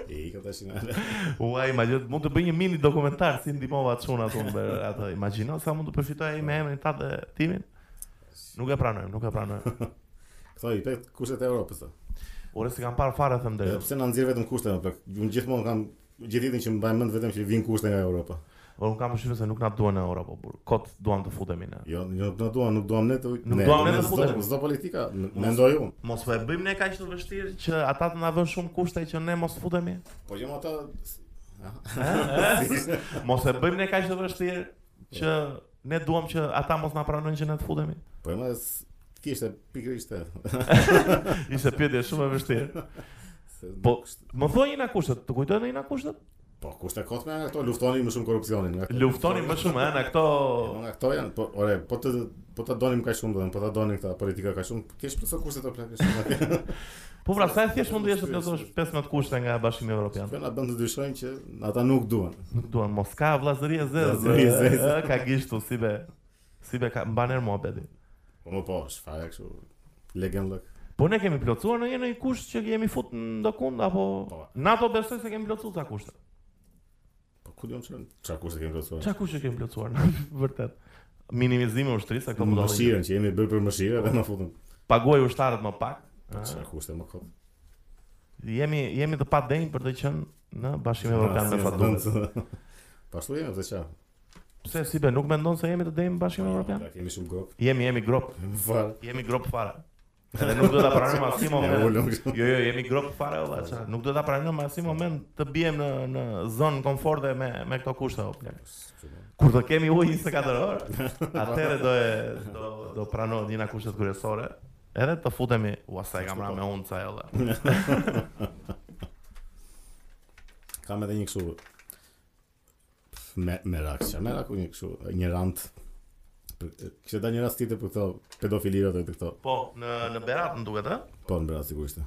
Speaker 1: E i ka tash në ale.
Speaker 2: Ua, imagjino, mund të bëj një mini dokumentar si ndihmova çun atë me atë. Imagjino sa mund të përfitoj ai me emrin ta dhe timin. Nuk e pranojmë, nuk e pranojmë.
Speaker 1: Këto i pe kushtet e Europës. ta.
Speaker 2: Ore se kam parë fare them
Speaker 1: Edhe
Speaker 2: drejt.
Speaker 1: pse na nxjerr vetëm kushte më plak. Unë gjithmonë kam gjithë ditën që më bajmë mend vetëm që vin kushte nga Europa.
Speaker 2: Por unë kam përshtypjen se nuk na duan në Europë, por kot duam të futemi ne.
Speaker 1: Jo, jo, nuk na duan, nuk duam ne të
Speaker 2: Nuk duam ne të
Speaker 1: s'do-
Speaker 2: futem.
Speaker 1: S'do politika, m- mendoj unë.
Speaker 2: Mos po e bëjmë ne kaq të vështirë që ata të na vënë shumë kushte që ne mos futemi.
Speaker 1: Po jo ata
Speaker 2: Mos e bëjmë ne kaq të vështirë që ne duam që ata mos na pranojnë që ne të futemi.
Speaker 1: po më s- kishte pikërisht e.
Speaker 2: Ishte pyetje shumë e vështirë.
Speaker 1: se
Speaker 2: Po,
Speaker 1: nuk është-
Speaker 2: më thuaj një na kushtet, të kujtoj një na kushtet?
Speaker 1: po kushte kot me ato luftoni më shumë korrupsionin. nga këto.
Speaker 2: Luftoni më shumë ëna këto
Speaker 1: Po nga këto janë, po ore, po të po ta donim kaq shumë, do të thënë, po ta donim këta politika kaq shumë, kish pse kushtet ato plakë shumë.
Speaker 2: Po pra, sa e thjesht mund të jesh të plotësh 15 kushte nga Bashkimi Evropian.
Speaker 1: Po na bën të dyshojmë që ata nuk duan.
Speaker 2: Nuk duan Moska, vllazëri e zezë.
Speaker 1: Vllazëri e zezë.
Speaker 2: ë, Ka gishtu si be. Si be ka mban er muhabeti.
Speaker 1: Po më po, çfarë kështu legend lëk.
Speaker 2: Po ne kemi plotësuar në një në një kusht që kemi fut në dokund apo
Speaker 1: Po.
Speaker 2: NATO besoj se kemi plotësuar ca kushte.
Speaker 1: Po ku diun çfarë? Çfarë kushte kemi plotësuar?
Speaker 2: Çka kushte kemi plotësuar në vërtet? Minimizimi i ushtrisë, sa këto mund të
Speaker 1: Mëshirën që jemi bërë për mëshirë dhe na futën.
Speaker 2: Paguaj ushtarët më pak.
Speaker 1: Po
Speaker 2: ë.
Speaker 1: çfarë kushte më kot?
Speaker 2: Jemi jemi të padenjë për të qenë në Bashkimin Evropian me
Speaker 1: Asnjë
Speaker 2: fatum.
Speaker 1: zëvendës. Po ashtu jemi pse çfarë?
Speaker 2: Pse si be nuk mendon se jemi të denjë në Bashkimin Evropian?
Speaker 1: Ta kemi shumë grop.
Speaker 2: Jemi jemi grop.
Speaker 1: Fal.
Speaker 2: Jemi grop fare. Edhe nuk do ta pranojmë asnjë
Speaker 1: Ne
Speaker 2: moment.
Speaker 1: ulëm kështu.
Speaker 2: Jo, jo, jemi grop fare valla, çfarë. Nuk do ta pranojmë asnjë moment të bijem në në zonë komfort dhe me me këto kushte o plak. Kur të kemi ujë 24 orë, atëherë do e do do pranohet njëna kushtet kryesore. Edhe të futemi, ua sa e kam ra me unë ca edhe.
Speaker 1: Kam edhe një kështu me merak, çfarë merak unë kështu një rant. Për- Kishte dalë një rast tjetër për këto pedofilirat dhe këto
Speaker 2: Po, në në Berat më duket, ë?
Speaker 1: Po, në Brazil sigurisht.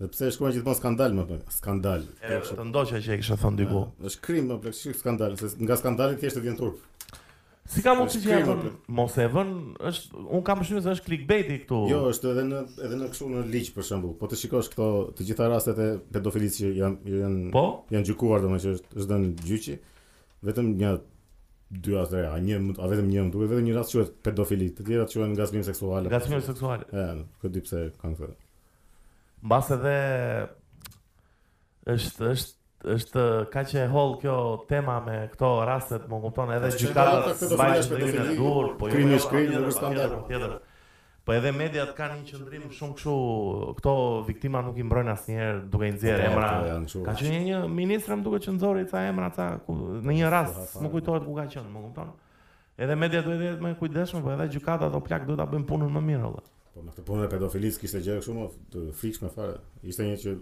Speaker 1: Dhe pse shkruan gjithmonë skandal më pak, skandal.
Speaker 2: E, po. Të ndoqja që e kisha thënë diku.
Speaker 1: Ë, Është krim më pak, shik skandal, se nga skandali thjesht të vjen turp.
Speaker 2: Si ka mundësi që ja
Speaker 1: Shkrim, o
Speaker 2: vën? Mos e vën, është un kam përshtypjen se është clickbaiti këtu.
Speaker 1: Jo, është edhe në edhe në kështu në ligj për shembull. Po të shikosh këto të gjitha rastet e pedofilisë që janë janë
Speaker 2: Po,
Speaker 1: janë gjykuar domethënë që është është dhënë gjyqi, vetëm një dy a tre, a një, më- a vetëm një, më duket vetëm një rast quhet pedofili, të tjerat quhen ngacmim seksual.
Speaker 2: ngacmimi seksual.
Speaker 1: E, këtë di pse kanë këtë.
Speaker 2: Mbas edhe është është është kaq e holl kjo tema me këto rastet, më kupton, edhe
Speaker 1: Është
Speaker 2: gjykata
Speaker 1: gjykata, këto
Speaker 2: mbajnë
Speaker 1: fjalë
Speaker 2: drejtën e
Speaker 1: pedofili,
Speaker 2: dur, po
Speaker 1: krimi
Speaker 2: jo,
Speaker 1: është krim,
Speaker 2: tjetër,
Speaker 1: nuk është skandal.
Speaker 2: tjetër, tjetër. Po edhe mediat kanë një qëndrim shumë kështu, këto viktima nuk i mbrojnë asnjëherë duke i nxjerrë
Speaker 1: Po,
Speaker 2: emra.
Speaker 1: po, janë kështu.
Speaker 2: Ka qenë një ministër më duket që nxori ca emra ca ku, në një rast, nuk kujtohet ku ka qenë, më kupton. Edhe media duhet të jetë më e kujdesshme, po edhe gjykata apo plak duhet ta bëjnë punën më mirë valla.
Speaker 1: Po me këtë punën e pedofilisë kishte gjë kështu më të frikshme fare. Ishte një që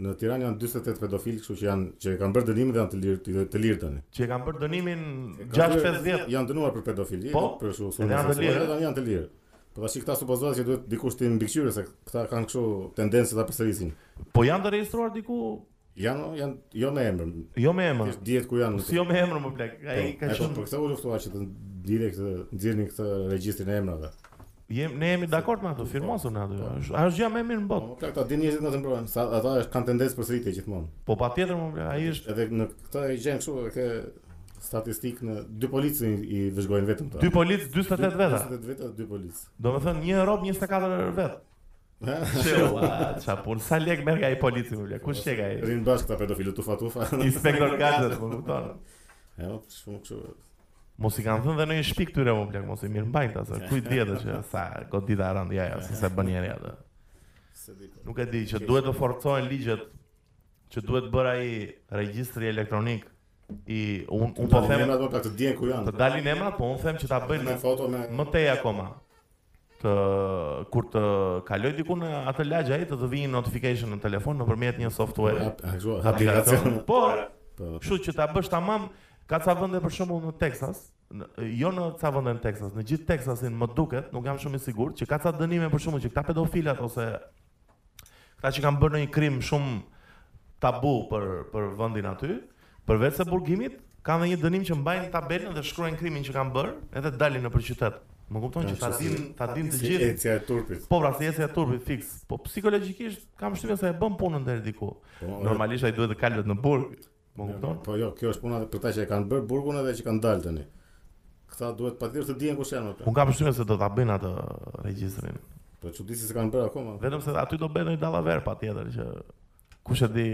Speaker 1: në Tiranë janë 48 pedofilë, kështu që janë që e kanë bërë dënimin dhe janë të lirë të, të lirë tani.
Speaker 2: Që e kanë bërë dënimin
Speaker 1: E kanë
Speaker 2: 6-5 vjet.
Speaker 1: Janë dënuar për pedofili,
Speaker 2: Po,
Speaker 1: për kështu
Speaker 2: edhe janë të
Speaker 1: seksuale,
Speaker 2: lirë.
Speaker 1: edhe janë të lirë. Po tash këta supozohet që duhet dikush të mbikëqyrë se këta kanë kështu tendencë ta përsërisin.
Speaker 2: Po janë të regjistruar diku,
Speaker 1: Janë, janë jo me emër,
Speaker 2: jo me emër.
Speaker 1: thjesht dihet ku janë.
Speaker 2: Si jo me emër më plak. Ai
Speaker 1: Po,
Speaker 2: ka
Speaker 1: e po,
Speaker 2: qenë
Speaker 1: Për këtë u luftua që të ndjerë këtë nxjerrin këtë regjistrin e emrave.
Speaker 2: jem ne jemi dakord me ato, firmosun aty. Është- Ajo është gjëja më e mirë në
Speaker 1: Po,
Speaker 2: botë.
Speaker 1: më plak ta dinë njerëzit nga të mbrohen, sa ata është- kanë tendencë përsëritje gjithmonë.
Speaker 2: Po patjetër më plak, ai është
Speaker 1: Edhe në këtë e gjen kështu e ke statistik në dy policë i i vëzhgojnë vetëm këta.
Speaker 2: dy polic 48 veta.
Speaker 1: 48 veta, dy policë.
Speaker 2: Domethënë një rob 24 vet. Sheu, çfarë pun sa lek merr nga ai polici më plak. Kush çeka ai?
Speaker 1: Rin bashkë këta pedofilë tufa tufa.
Speaker 2: Inspektor Gadget, më kupton.
Speaker 1: E, o, Jo, shumë kështu.
Speaker 2: Mos i kanë thënë dhe në një shtëpi këtyre më plak, mos i mirë mbajnë ta se kujt dihet që sa godita e rënd, ja ja, se se bën njëri atë.
Speaker 1: Se di. po.
Speaker 2: Nuk e di që duhet të forcohen ligjet që duhet bërë ai regjistri elektronik i un, un po
Speaker 1: Dalin
Speaker 2: them
Speaker 1: emrat, më plak të dijen ku
Speaker 2: të po
Speaker 1: janë.
Speaker 2: dalin emrat, po un them që ta bëjnë
Speaker 1: Me foto me
Speaker 2: më tej akoma. të kur të kaloj diku në atë lagj ai të të vijë notification në telefon nëpërmjet një software.
Speaker 1: Ap- a kështu, aplikacion.
Speaker 2: Po,
Speaker 1: Po.
Speaker 2: kështu që ta bësh tamam, ka ca vende për shembull në Texas, në, jo në ca vende në Texas, në gjithë Texasin më duket, nuk jam shumë i sigurt, që ka ca dënime për shembull që këta pedofilat ose këta që kanë bërë një krim shumë tabu për për vendin aty, përveç se burgimit, kanë edhe një dënim që mbajnë tabelën dhe shkruajnë krimin që kanë bërë, edhe dalin nëpër qytet. Më kupton që ta din, ta din të
Speaker 1: Si
Speaker 2: gjithë.
Speaker 1: ecja e turpit.
Speaker 2: Po pra, se ecja e turpit fiks. Po psikologjikisht kam shtypjen se e bën punën deri diku.
Speaker 1: Po,
Speaker 2: Normalisht ai duhet të kalvet në burg. Më kupton?
Speaker 1: Po jo, kjo është puna për këta që e kanë bërë burgun edhe që kanë dalë tani. Këta duhet patjetër të dijen kush janë ata.
Speaker 2: Unë kam shtypjen se do ta bëjnë atë regjistrin.
Speaker 1: Po çudi si se kanë bërë akoma.
Speaker 2: Vetëm se aty do bëjnë një dallaver patjetër që kush e di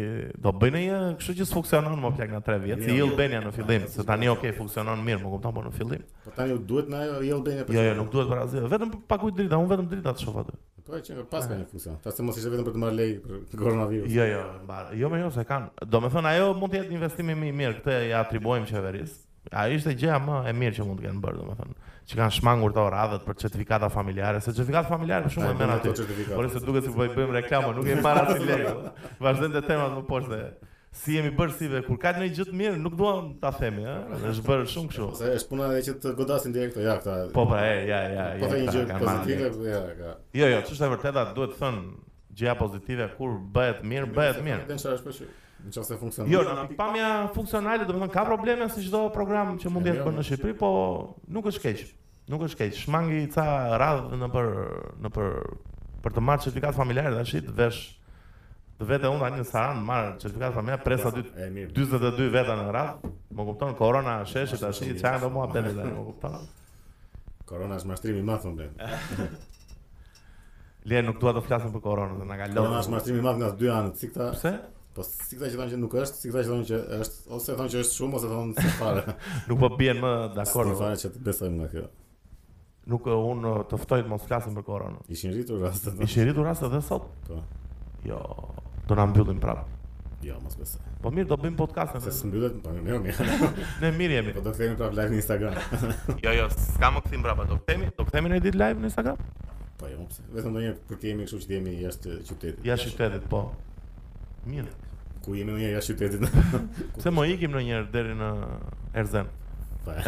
Speaker 2: do bëjnë një kështu që s'funksionon më plak në 3 vjet. Si
Speaker 1: Jo.
Speaker 2: Albania në fillim, se tani okay funksionon mirë, më kupton, po në fillim.
Speaker 1: Po tani u duhet na ajo Real Albania.
Speaker 2: Jo, jo, nuk duhet parazi. Vetëm pa kujt drita, unë vetëm drita të shoh aty.
Speaker 1: Po e që pas ka një funksion. Ta se mos ishte vetëm për të marrë lejë për koronavirus.
Speaker 2: Eh. Jo, jo, mbar. Jo, më jo se kanë. Do me thënë ajo mund të jetë një investim i mi- mirë, këtë ja atribuojmë qeverisë. Ai ishte gjëja më e mirë që mund të kenë bërë, domethënë, që kanë shmangur këto radhët për certifikata familjare, se certifikata familjare për shumë e merr aty. Por se duket se po i bëjmë reklamë, nuk e marr asnjë lek. Vazhdojmë te temat më poshtë. Si jemi bërë si dhe kur ka një gjë të mirë, nuk duam ta themi, ëh. Është bërë shumë kështu.
Speaker 1: Se është puna edhe që të godasin direkt ja këta.
Speaker 2: Po pra, e, ja, ja, ja.
Speaker 1: Po të një
Speaker 2: ta
Speaker 1: gjë
Speaker 2: kanë marrë lek.
Speaker 1: pozitive, ja, ka.
Speaker 2: Jo, jo, ç'është e vërteta, duhet të thënë gjëja pozitive kur bëhet mirë, bëhet mirë.
Speaker 1: Den çfarë është po që nëse funksionon.
Speaker 2: Jo, në pikpamja funksionale, do të thonë ka probleme si çdo program që mund të jetë bërë në Shqipëri, po nuk është keq. Nuk është keq. Shmangi ca radhë në për në për për të marrë certifikat familjare tash të vesh të vete unë tani në Saran marr certifikat familjare pres aty
Speaker 1: E mirë.
Speaker 2: 42 veta në radhë. Më kupton korona sheshe tash çka do mua bëni tani, më kupton?
Speaker 1: Korona është mashtrimi i madh thonë.
Speaker 2: Le nuk dua të flasim për koronën, se na ka
Speaker 1: Korona është
Speaker 2: lënë.
Speaker 1: mashtrimi i madh nga dy anët, si këta
Speaker 2: Pse?
Speaker 1: Po si këta që thonë që nuk është, si këta që thonë që është, ose thonë që është shumë, ose thonë se fare.
Speaker 2: Nuk po bien më dakord.
Speaker 1: S'di fare që të besojmë nga kjo.
Speaker 2: Nuk unë të ftoj të mos flasim për koronën.
Speaker 1: Ishin rritur rastet.
Speaker 2: Ishte rritur rast edhe sot.
Speaker 1: Po.
Speaker 2: Jo, do na mbyllim prapë.
Speaker 1: Jo, mos besoj.
Speaker 2: Po mirë, do bëjmë podcast
Speaker 1: Se
Speaker 2: në
Speaker 1: s'mbyllet, po mirë, mirë.
Speaker 2: ne mirë jemi.
Speaker 1: Po do kthehemi prapë live në Instagram.
Speaker 2: Jo, jo, s'ka më kthim brapa, do kthemi, do kthemi në ditë live në Instagram.
Speaker 1: Po jo, pse. Vetëm ndonjë kur ti jemi kështu që ti jemi jashtë qytetit.
Speaker 2: Ja qytetit, po. Mirë.
Speaker 1: Ku jemi ndonjë jashtë qytetit.
Speaker 2: Pse mo ikim ndonjëherë deri në Erzen?
Speaker 1: Po.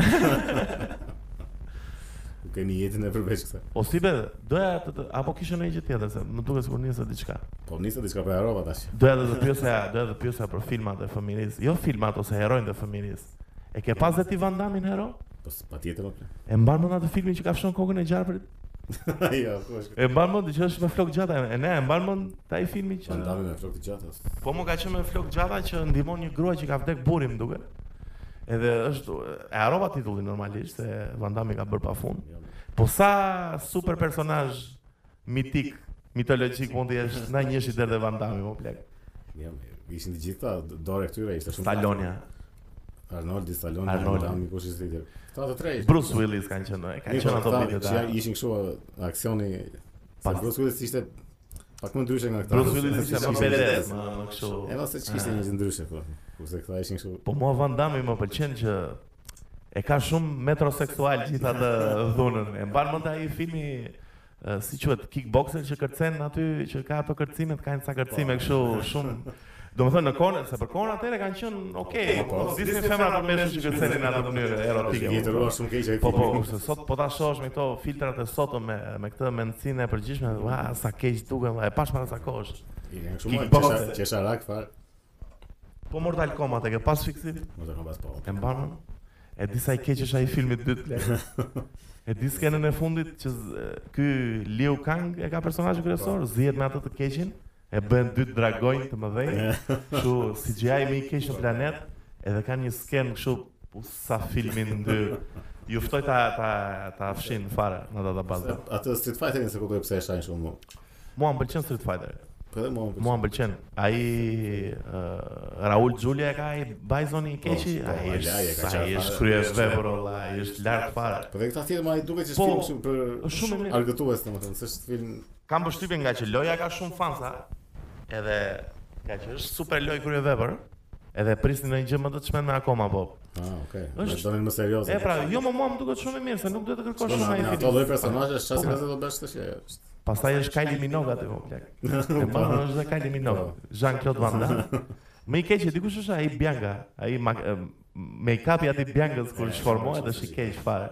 Speaker 1: Ku kemi jetën e përveç kësaj.
Speaker 2: O Po si be, doja të, të apo kishe ndonjë gjë tjetër se më duket sikur nisi diçka.
Speaker 1: Po nisi diçka për Europa tash.
Speaker 2: Doja edhe të pyesja, doja të pyesja për filmat e fëmirisë, jo filmat ose heronjtë e fëmirisë. E ke pas dhe ti Van Damme-in hero?
Speaker 1: Po s- patjetër po.
Speaker 2: E mban mend atë filmin që ka fshon kokën e gjarprit?
Speaker 1: Jo, ku është.
Speaker 2: E mban mend që është me flok gjata, e ne e mban mend taj filmi që
Speaker 1: Pandami me flokë të gjata. s-
Speaker 2: Po më ka qenë me flok gjata që ndihmon një grua që ka vdek burri më duket. Edhe është e harrova titullin normalisht se Van Damme ka bërë pafund.
Speaker 1: Jo.
Speaker 2: Po sa super personazh mitik, mitologjik mund të jesh na njëshi deri te Van Damme, po plak.
Speaker 1: Jo, ishin të gjitha dore këtyre ishte shumë.
Speaker 2: Stallone,
Speaker 1: Arnoldi Stallone,
Speaker 2: Arnoldi.
Speaker 1: Arnoldi Dami, kush ishte tjetër. Këta të tre. ishin.
Speaker 2: Bruce Willis kanë qenë, e kanë
Speaker 1: Mirë,
Speaker 2: qenë
Speaker 1: po,
Speaker 2: ato
Speaker 1: këta
Speaker 2: vitet.
Speaker 1: që ja
Speaker 2: a.
Speaker 1: ishin kështu uh, aksioni pa
Speaker 2: Pas-
Speaker 1: Bruce Willis ishte pak më ndryshe nga këta.
Speaker 2: Bruce Willis ishte më Ah.
Speaker 1: Ishin
Speaker 2: badass, më më kështu.
Speaker 1: E mos se ç'ishte një gjë ndryshe po. Kurse këta ishin kështu.
Speaker 2: Po mua Van Damme më pëlqen që e ka shumë metroseksual gjithë atë dhunën. E mban mend ai filmi e, si quhet kickboxer që kërcen aty që ka ato kërcimet, kanë ca kërcime kështu shumë Do më thënë në kone, se për kone atëre kanë qënë okej,
Speaker 1: Po, po.
Speaker 2: okay, zisni femra për meshën që kërcenin në atë mënyrë erotike.
Speaker 1: Ishte jetëruar shumë keq ai.
Speaker 2: Po po,
Speaker 1: filmi.
Speaker 2: kurse sot po ta shohësh me këto filtrat e sotëm me me këtë mendsinë e përgjithshme, ua sa keq duken, ua, e pash para sa kohësh.
Speaker 1: Ishin kështu më
Speaker 2: Kickboxer.
Speaker 1: qesha- qesharak fare.
Speaker 2: Po Mortal Kombat e ke pas fiksit?
Speaker 1: Mos e kam pas po.
Speaker 2: E mban më? E di sa i keq është ai filmi i dytë. le. E di skenën e fundit që z- e, ky Liu Kang e ka personazhin kryesor, zihet me atë të keqin, e bën dy dragonj të mëdhenj, kështu CGI më i keq në planet, edhe kanë një skenë kështu u sa filmi në dy. Ju ftoj ta ta ta fshin fare në database.
Speaker 1: Se- Atë Street Fighterin se kuptoj pse e shajnë shumë. mu.
Speaker 2: Mua më pëlqen Street Fighter.
Speaker 1: Po edhe mua. më pëlqen.
Speaker 2: Mua më pëlqen. Ai uh, Raul Julia e ka ai bajzoni i keqi,
Speaker 1: Po, po, ai
Speaker 2: ai
Speaker 1: e ka
Speaker 2: është ai
Speaker 1: qarë
Speaker 2: është
Speaker 1: fare.
Speaker 2: kryesvepër olla, ai është lart fare.
Speaker 1: Po dhe këta tjetër më ai duket që
Speaker 2: Po,
Speaker 1: është film kështu për
Speaker 2: është shumë i mirë.
Speaker 1: argëtues domethënë, s'është film
Speaker 2: Kam përshtypjen nga që loja ka shumë fansa, edhe nga që është super loj kryevepër, Edhe prisnin në një gjë më të çmend me akoma po.
Speaker 1: Ah, okay.
Speaker 2: Është-
Speaker 1: Është donin më serioze.
Speaker 2: E pra, jo më mua më duket shumë e mirë se nuk duhet të
Speaker 1: Po,
Speaker 2: kërkosh
Speaker 1: na-
Speaker 2: shumë ai
Speaker 1: na Ato
Speaker 2: film.
Speaker 1: lloj personazhesh çfarë
Speaker 2: Po,
Speaker 1: si do bësh tash?
Speaker 2: Pastaj është Kylie Minogue aty po plak. E pa është dhe Kylie Minogue, Jean-Claude Van Damme. Më i keq e dikush është ai Bianca, ai mak- e, make-upi aty Biancës kur
Speaker 1: E,
Speaker 2: shformohet
Speaker 1: shumë,
Speaker 2: është i
Speaker 1: shumë,
Speaker 2: keq fare.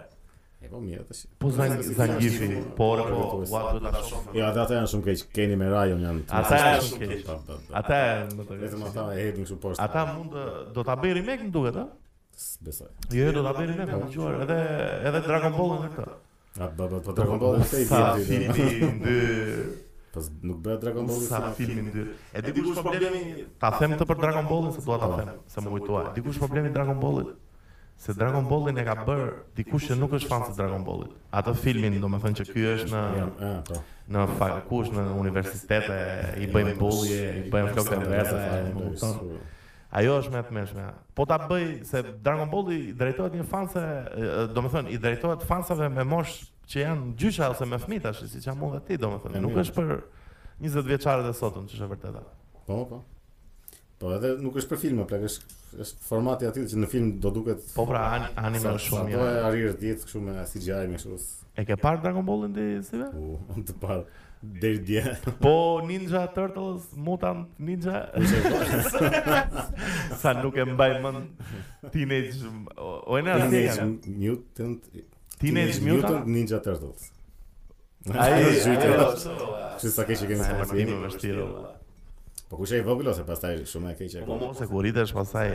Speaker 1: E po mirë tash.
Speaker 2: Po Zang- Zangifi, po ore, po, ua duhet ta shoh.
Speaker 1: Jo, ata ata janë shumë keq. Keni me Rajon janë. të-
Speaker 2: Ata janë shumë keq.
Speaker 1: Po, po, po.
Speaker 2: Ata janë më të
Speaker 1: Vetëm ata e hedhin kështu poshtë.
Speaker 2: Ata mund të do ta bëj remake më duket, a?
Speaker 1: besoj.
Speaker 2: Jo, jo, do ta bëj remake, më dëgjuar, edhe edhe Dragon Ball në këtë.
Speaker 1: A po po po Dragon Ball është i
Speaker 2: Sa
Speaker 1: vjetri.
Speaker 2: filmi ndy,
Speaker 1: Po s- nuk bëhet Dragon Ball.
Speaker 2: sa
Speaker 1: Sa
Speaker 2: filmi ndy. E po di kush problemi, ta them të për Dragon Ballin se dua ta them, se më kujtoa. Di kush problemi i Dragon Ballit? Se Dragon Ballin e ka bër dikush që nuk është fan të Dragon Ballit. Atë filmin, domethënë që ky është në
Speaker 1: Jam, ah, po.
Speaker 2: në fakt kush në universitete i bëjnë bullje, i bëjnë flokë të vresa, më kupton? Ajo është më e tmeshme. Po ta bëj se Dragon Ball i drejtohet një fanse, do të thënë i drejtohet fansave me mosh që janë gjysha ose me fëmijë tash, siç jam unë dhe ti, do të
Speaker 1: E
Speaker 2: thënë, nuk
Speaker 1: mirë.
Speaker 2: është për 20 vjeçarët e sotëm, që është e vërteta.
Speaker 1: Po, po. Po edhe nuk është për filma, plak është është formati i atij që në film do duket
Speaker 2: Po pra, an, anime është shumë
Speaker 1: mirë.
Speaker 2: mirë.
Speaker 1: Sa arrir 10 kështu me CGI me kështu. s-
Speaker 2: E ke parë Dragon Ballin ti si ve?
Speaker 1: U, të parë deri dje.
Speaker 2: Po Ninja Turtles, Mutant Ninja. Sa nuk e mbaj mend Teenage o- o e ne asnjë
Speaker 1: Teenage
Speaker 2: kanë.
Speaker 1: Mutant
Speaker 2: Teenage Mutant.
Speaker 1: Ninja Turtles.
Speaker 2: Ai
Speaker 1: zhyte.
Speaker 2: ajo,
Speaker 1: Kështu sa keq që kemi
Speaker 2: sa
Speaker 1: të
Speaker 2: e vërtetë
Speaker 1: bëjmë.
Speaker 2: vështirë. valla.
Speaker 1: Po kush e i vogël ose pastaj shumë e keq e
Speaker 2: Po mos e kuritesh pastaj.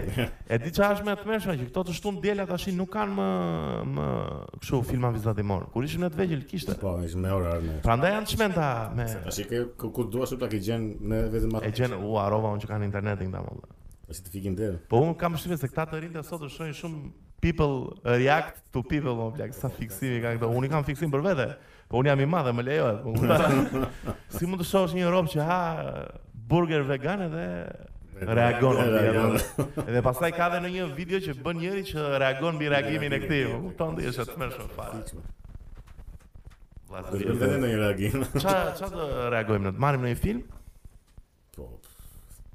Speaker 2: E di çfarë është më e tmeshme që këto të shtun djela tash nuk kanë më më kështu filma vizatimor. Kur ishim në të vegjël kishte.
Speaker 1: Po, është me orar me.
Speaker 2: Prandaj janë të shmenta me
Speaker 1: Tash i ke ku, ku duash u plak i gjen në vetëm
Speaker 2: e
Speaker 1: atë.
Speaker 2: gjen u harova unë që kanë internetin këta molla.
Speaker 1: Tash i të fikin deri.
Speaker 2: Po unë kam shtypën se këta të rinjtë sot të shohin shumë people react to people më plak sa fiksimi kanë këto. Unë i kam fiksim për vete. Po unë jam i madh e më lejohet. Po unë si mund të shohësh një rob që ha burger vegan edhe reagon
Speaker 1: E, reagon.
Speaker 2: reagon. Edhe pastaj ka edhe në një video që bën njëri që reagon mbi reagimin e këtij. U kupton ti është të mërshëm fare.
Speaker 1: Do të bëjë ndonjë reagim.
Speaker 2: Ça ça do reagojmë ne? Të marrim në një film?
Speaker 1: Po.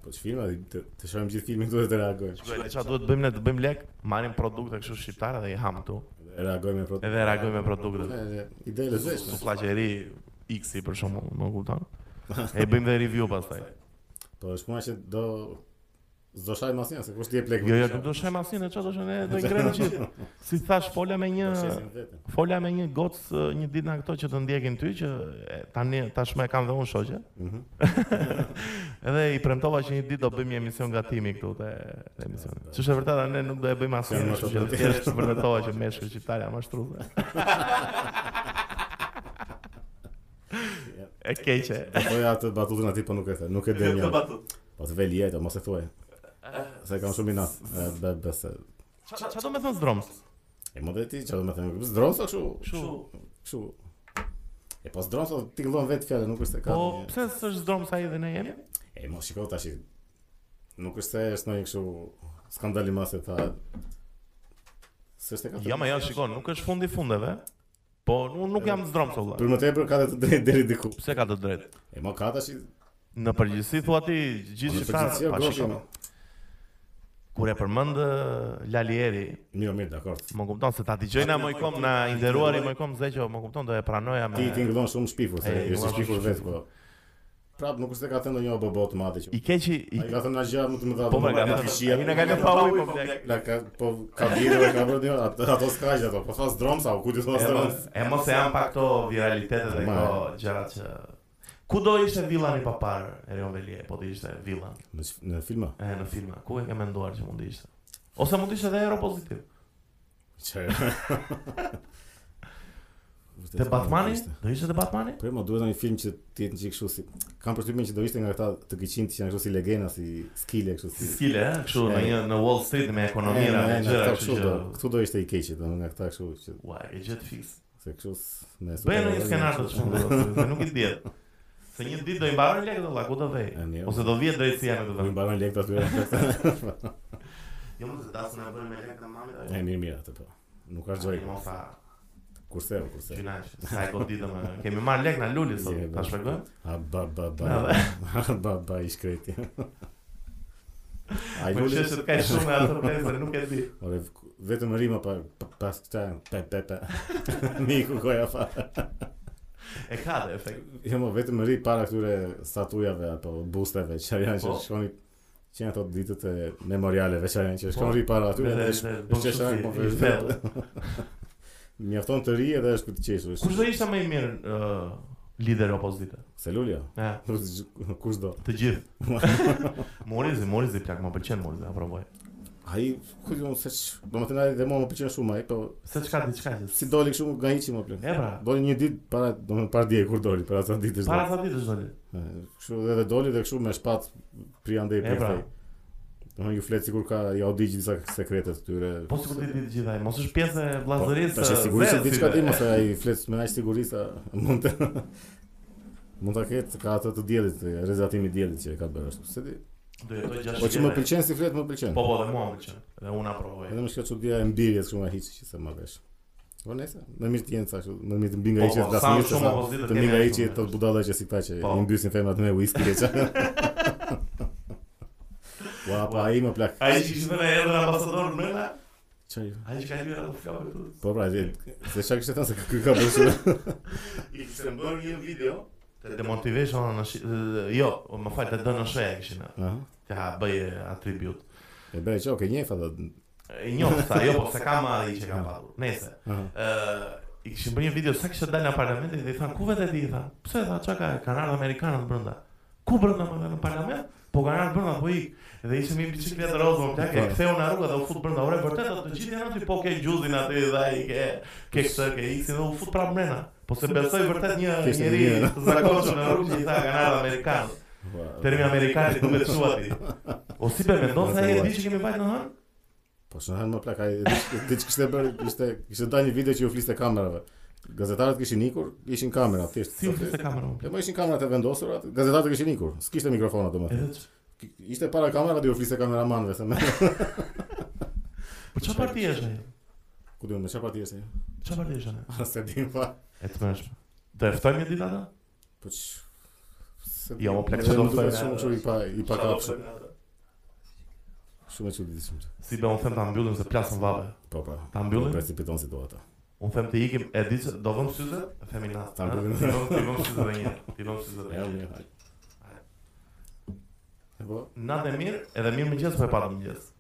Speaker 1: Po ç'filma të, të shohim gjithë filmin këtu dhe të reagojmë.
Speaker 2: Shikoj, Ça duhet bëjmë ne të bëjmë lek? Marrim produkte kështu shqiptare dhe i ham këtu.
Speaker 1: Reagojmë me protestë.
Speaker 2: Edhe reagojmë me produktet.
Speaker 1: Ide e lezeshme.
Speaker 2: Suflaqeri X-i për shembull, më kupton? E bëjmë dhe review pastaj.
Speaker 1: Po është puna që do s'do shajmë asnjë, se kush ti e plek.
Speaker 2: Jo, jo, nuk do shem asnjë, çfarë do shem, ne do i ngrenë gjithë. Si thash, fola me një
Speaker 1: shesin vetëm.
Speaker 2: fola me një gocë një ditë nga këto që të ndjekin ty që e, tani tashmë e kam dhe unë shoqe.
Speaker 1: Mhm.
Speaker 2: Edhe i premtova që një ditë do bëjmë një emision gatimi këtu te te emisioni. Ç'është e vërteta ne nuk do e bëjmë asnjë,
Speaker 1: Janë më
Speaker 2: kështu
Speaker 1: të
Speaker 2: që
Speaker 1: vërtetë.
Speaker 2: thjesht vërtetova që meshkë shqiptar janë mashtruese. E keqe.
Speaker 1: Po ja të batutën aty po nuk e the, nuk e dem jam. Po të veli ato, mos e thuaj. Se kam shumë inat. E, Be besë.
Speaker 2: Çfarë do me thënë zdroms?
Speaker 1: E më dhe ti, që do me thëmë, zdronsa këshu,
Speaker 2: Kështu.
Speaker 1: këshu. E po zdronsa, ti këllon vetë fjallë, nuk është se ka
Speaker 2: Po
Speaker 1: një-
Speaker 2: pse s'është zdroms ai dhe ne jemi?
Speaker 1: E mos shiko tash. Nuk është se është ndonjë kështu skandali mas e tha. S'është e ka.
Speaker 2: Jo, ma jo, shikon, nuk është fundi i fundeve. Po unë nuk jam zdroms valla.
Speaker 1: Për më tepër ka dhe të drejtë deri diku.
Speaker 2: Pse ka të drejtë?
Speaker 1: E mo ka tash.
Speaker 2: Në përgjithësi thua ti gjithë shqiptarët pa shikon. Kur e përmend ë, Lalieri,
Speaker 1: Mirë, mirë, dakor.
Speaker 2: Më kupton se ta dëgjojna më i kom na i nderuari më i kom zëqo, më kupton do e pranoja me
Speaker 1: Ti ti ngëllon shumë shpifur, se
Speaker 2: E,
Speaker 1: je
Speaker 2: ngëllon
Speaker 1: shpifur
Speaker 2: shumë
Speaker 1: vetë, po. Prap nuk është se ka thënë ndonjë bobo të madhe që.
Speaker 2: i keqi i
Speaker 1: Ai ka thënë na gjë më të mëdha.
Speaker 2: po më kanë.
Speaker 1: kishia.
Speaker 2: Ai na ka lënë pa ujë po blek.
Speaker 1: La ka po ka bjerë dhe ka bërë një- ato ato skaqje ato. Po thas drom sa, ku ti thua
Speaker 2: E
Speaker 1: drom?
Speaker 2: mos e mos e janë pa këto viralitete dhe
Speaker 1: Ma,
Speaker 2: këto gjëra që Ku do ishte villani pa parë, Erion Velie, po të ishte villa
Speaker 1: Në sh- Në filma.
Speaker 2: e, në filma. Ku e ke menduar që mund të ishte? Ose mund të ishte edhe ero pozitiv.
Speaker 1: Çfarë?
Speaker 2: Te Batmani? Do ishte te Batmani?
Speaker 1: Po më duhet një film që të jetë një çik kështu si. Kam përshtypjen që do ishte nga ata të gëqinjtë që janë kështu si legenda, si skile kështu
Speaker 2: Si
Speaker 1: si.
Speaker 2: skile, ëh, kështu
Speaker 1: E.
Speaker 2: në një në Wall Street me
Speaker 1: E,
Speaker 2: ekonomira,
Speaker 1: e,
Speaker 2: me
Speaker 1: e,
Speaker 2: gjëra,
Speaker 1: këta
Speaker 2: kështu
Speaker 1: kështu
Speaker 2: që
Speaker 1: do. Ktu do ishte i keqi, domethënë nga këta kështu që
Speaker 2: Ua, e gjë të fiks.
Speaker 1: se kështu s- me
Speaker 2: Bëj në
Speaker 1: superheroë
Speaker 2: një skenar të
Speaker 1: janë
Speaker 2: çmendur, se nuk i diet. Se një ditë do i mbaroj lekët valla, ku do vej?
Speaker 1: E, mirë.
Speaker 2: Ose do vjet drejtësia me të
Speaker 1: kështu. Po i
Speaker 2: vend.
Speaker 1: mbaron lekët aty.
Speaker 2: Jo, mos e dasën e bën me lekët e mamit
Speaker 1: E mirë mirë atë po. Nuk ka gjoj.
Speaker 2: Mos sa
Speaker 1: Kurse, kurse.
Speaker 2: gjinash, sa e goditëm. e. Kemi marrë lek na luli sot,
Speaker 1: Je,
Speaker 2: ta
Speaker 1: bra.
Speaker 2: shpjegoj?
Speaker 1: A ba ba ba.
Speaker 2: Na,
Speaker 1: A ba ba i shkreti. Ai
Speaker 2: Po
Speaker 1: voli.
Speaker 2: shesh se ka shumë ato pjesë, nuk e di.
Speaker 1: Ore, v- vetëm rima pa pa- pas këta pe pe pe. Miku koja fa.
Speaker 2: E ka dhe efekt.
Speaker 1: Jo, më vetëm ri para këtyre statujave apo busteve që janë që
Speaker 2: Po.
Speaker 1: shkoni që janë ato ditët e memorialeve që janë që
Speaker 2: Po.
Speaker 1: shkon ri para atyre
Speaker 2: Dhe-
Speaker 1: dhe
Speaker 2: dhe-
Speaker 1: sh-
Speaker 2: bën
Speaker 1: është qeshar
Speaker 2: shufi,
Speaker 1: po
Speaker 2: i
Speaker 1: vetë. Mjafton të ri edhe është për të qeshur.
Speaker 2: Kush do ishte më i mirë uh, lider opozite?
Speaker 1: Selulio.
Speaker 2: Ja,
Speaker 1: Kush do?
Speaker 2: të gjithë. Morizi, Morizi plak, më pëlqen Morizi, aprovoj.
Speaker 1: Ai, ku diun se ç- do të thënë dhe mua më pëlqen shumë ai, po
Speaker 2: Se çka diçka që
Speaker 1: si doli kështu nga hiçi më plot.
Speaker 2: E pra.
Speaker 1: Doli një ditë para, domethënë para dje kur doli, para sa ditësh.
Speaker 2: Para sa ditësh doli.
Speaker 1: E, Kështu edhe doli dhe kështu me shpat pri andej
Speaker 2: E
Speaker 1: pri
Speaker 2: pra.
Speaker 1: andej. Domethënë ju flet sikur ka ja u digj disa sekrete të tyre.
Speaker 2: Po sikur ti di të gjitha, ai, mos është pjesë e
Speaker 1: Po,
Speaker 2: vllazërisë.
Speaker 1: Tash e
Speaker 2: e
Speaker 1: sigurisht e di çka
Speaker 2: vezëve.
Speaker 1: di mos e ai flet me aq sigurisë sa mund të mund ta ketë ka atë të diellit, e, rezatimi i diellit që e ka bërë ashtu. Se di.
Speaker 2: Do jetoj gjashtë.
Speaker 1: Po që më
Speaker 2: vjetë.
Speaker 1: pëlqen si flet, më pëlqen.
Speaker 2: Po po, dhe mua më pëlqen. Dhe unë aprovoj.
Speaker 1: Edhe më shkjo çudia e mbirjes kështu nga hiçi që se ma vesh. Po nëse, më mirë të jenë sa kështu, më mirë të mbi nga
Speaker 2: Po,
Speaker 1: hiçi
Speaker 2: po,
Speaker 1: të
Speaker 2: sa më
Speaker 1: dasmir,
Speaker 2: shumë opozitë
Speaker 1: të
Speaker 2: kemi,
Speaker 1: mbi nga
Speaker 2: aq
Speaker 1: hiçi
Speaker 2: shumë
Speaker 1: të
Speaker 2: është.
Speaker 1: budalla që si këta që
Speaker 2: Po.
Speaker 1: i mbysin femrat me whisky e çfarë. Ua, pa ai më plak.
Speaker 2: Ai që ishte në erën ambasador në mëna,
Speaker 1: Çaj.
Speaker 2: ai që ka hyrë atë flokë këtu.
Speaker 1: Po pra, dhe, se çka kishte thënë se ky ka bërë shumë.
Speaker 2: I kishte bërë një video të demotivation në shi... eh, jo, më fal të dënë shë kishin.
Speaker 1: Aha.
Speaker 2: Ja bëj atribut.
Speaker 1: E bëre çka, okay, njeh atë.
Speaker 2: E njoh sa, jo, po se kam ai që kam patur. Nëse.
Speaker 1: Aha.
Speaker 2: Ë, i kishin bërë një video sa kishte dalë në parlament dhe i than ku vetë e di i than. Pse tha çka ka kanë ardhur amerikanët brenda. Ku brenda më tha, në parlament? Po kanë ardhur brenda po ik. Dhe ishim me biçikletë rrozë më plak, e ktheu në rrugë dhe u fut brenda. Ore vërtet ato të gjithë janë aty po ke gjuzin aty dhe ai ke ke këtë ke iksin dhe u fut prapë mrena. Po se besoj vërtet një
Speaker 1: Kishte
Speaker 2: njeri
Speaker 1: një-
Speaker 2: të zakonshëm në rrugë që i tha kanë ardhur amerikanët.
Speaker 1: Ua,
Speaker 2: Termi amerikan i duhet thua ti. O si be mendon se ai e di që kemi vajt në hën?
Speaker 1: Po shëhan më plak, ai diç kishte bërë, kishte kishte dalë një video që u fliste kamerave. Gazetarët kishin ikur, ishin kamera thjesht.
Speaker 2: Si u flisë kamerën?
Speaker 1: Po më ishin kamerat e vendosura, gazetarët kishin ikur. S'kishte mikrofona domethënë.
Speaker 2: Edhe ç-
Speaker 1: Ishte para kamera dhe u fliste kameramanëve se më
Speaker 2: Po çfarë parti është ai?
Speaker 1: ku do me çfarë parti është ajo?
Speaker 2: Çfarë parti është ai?
Speaker 1: A se di pa.
Speaker 2: E të mëshme. Do e ftojmë një ditë ata?
Speaker 1: Po ç se
Speaker 2: Jo, më plak,
Speaker 1: Edhe
Speaker 2: se do
Speaker 1: më duket
Speaker 2: të-
Speaker 1: shumë kështu i pa i pa kapshëm,
Speaker 2: ata?
Speaker 1: shumë e çuditshëm.
Speaker 2: Si be unë them ta mbyllim se plasën vabe.
Speaker 1: Po po.
Speaker 2: Ta mbyllim?
Speaker 1: Po si piton situata.
Speaker 2: Unë them të ikim, e di se do vëm syze? Feminat.
Speaker 1: Ta
Speaker 2: ha?
Speaker 1: mbyllim.
Speaker 2: Ti vëm- Ti vëm syze dhe një. Ti vëm syze dhe
Speaker 1: Ja,
Speaker 2: një.
Speaker 1: mirë. hajde. E Po,
Speaker 2: Natë e mirë, edhe mirë mëngjes po e patë mëngjes.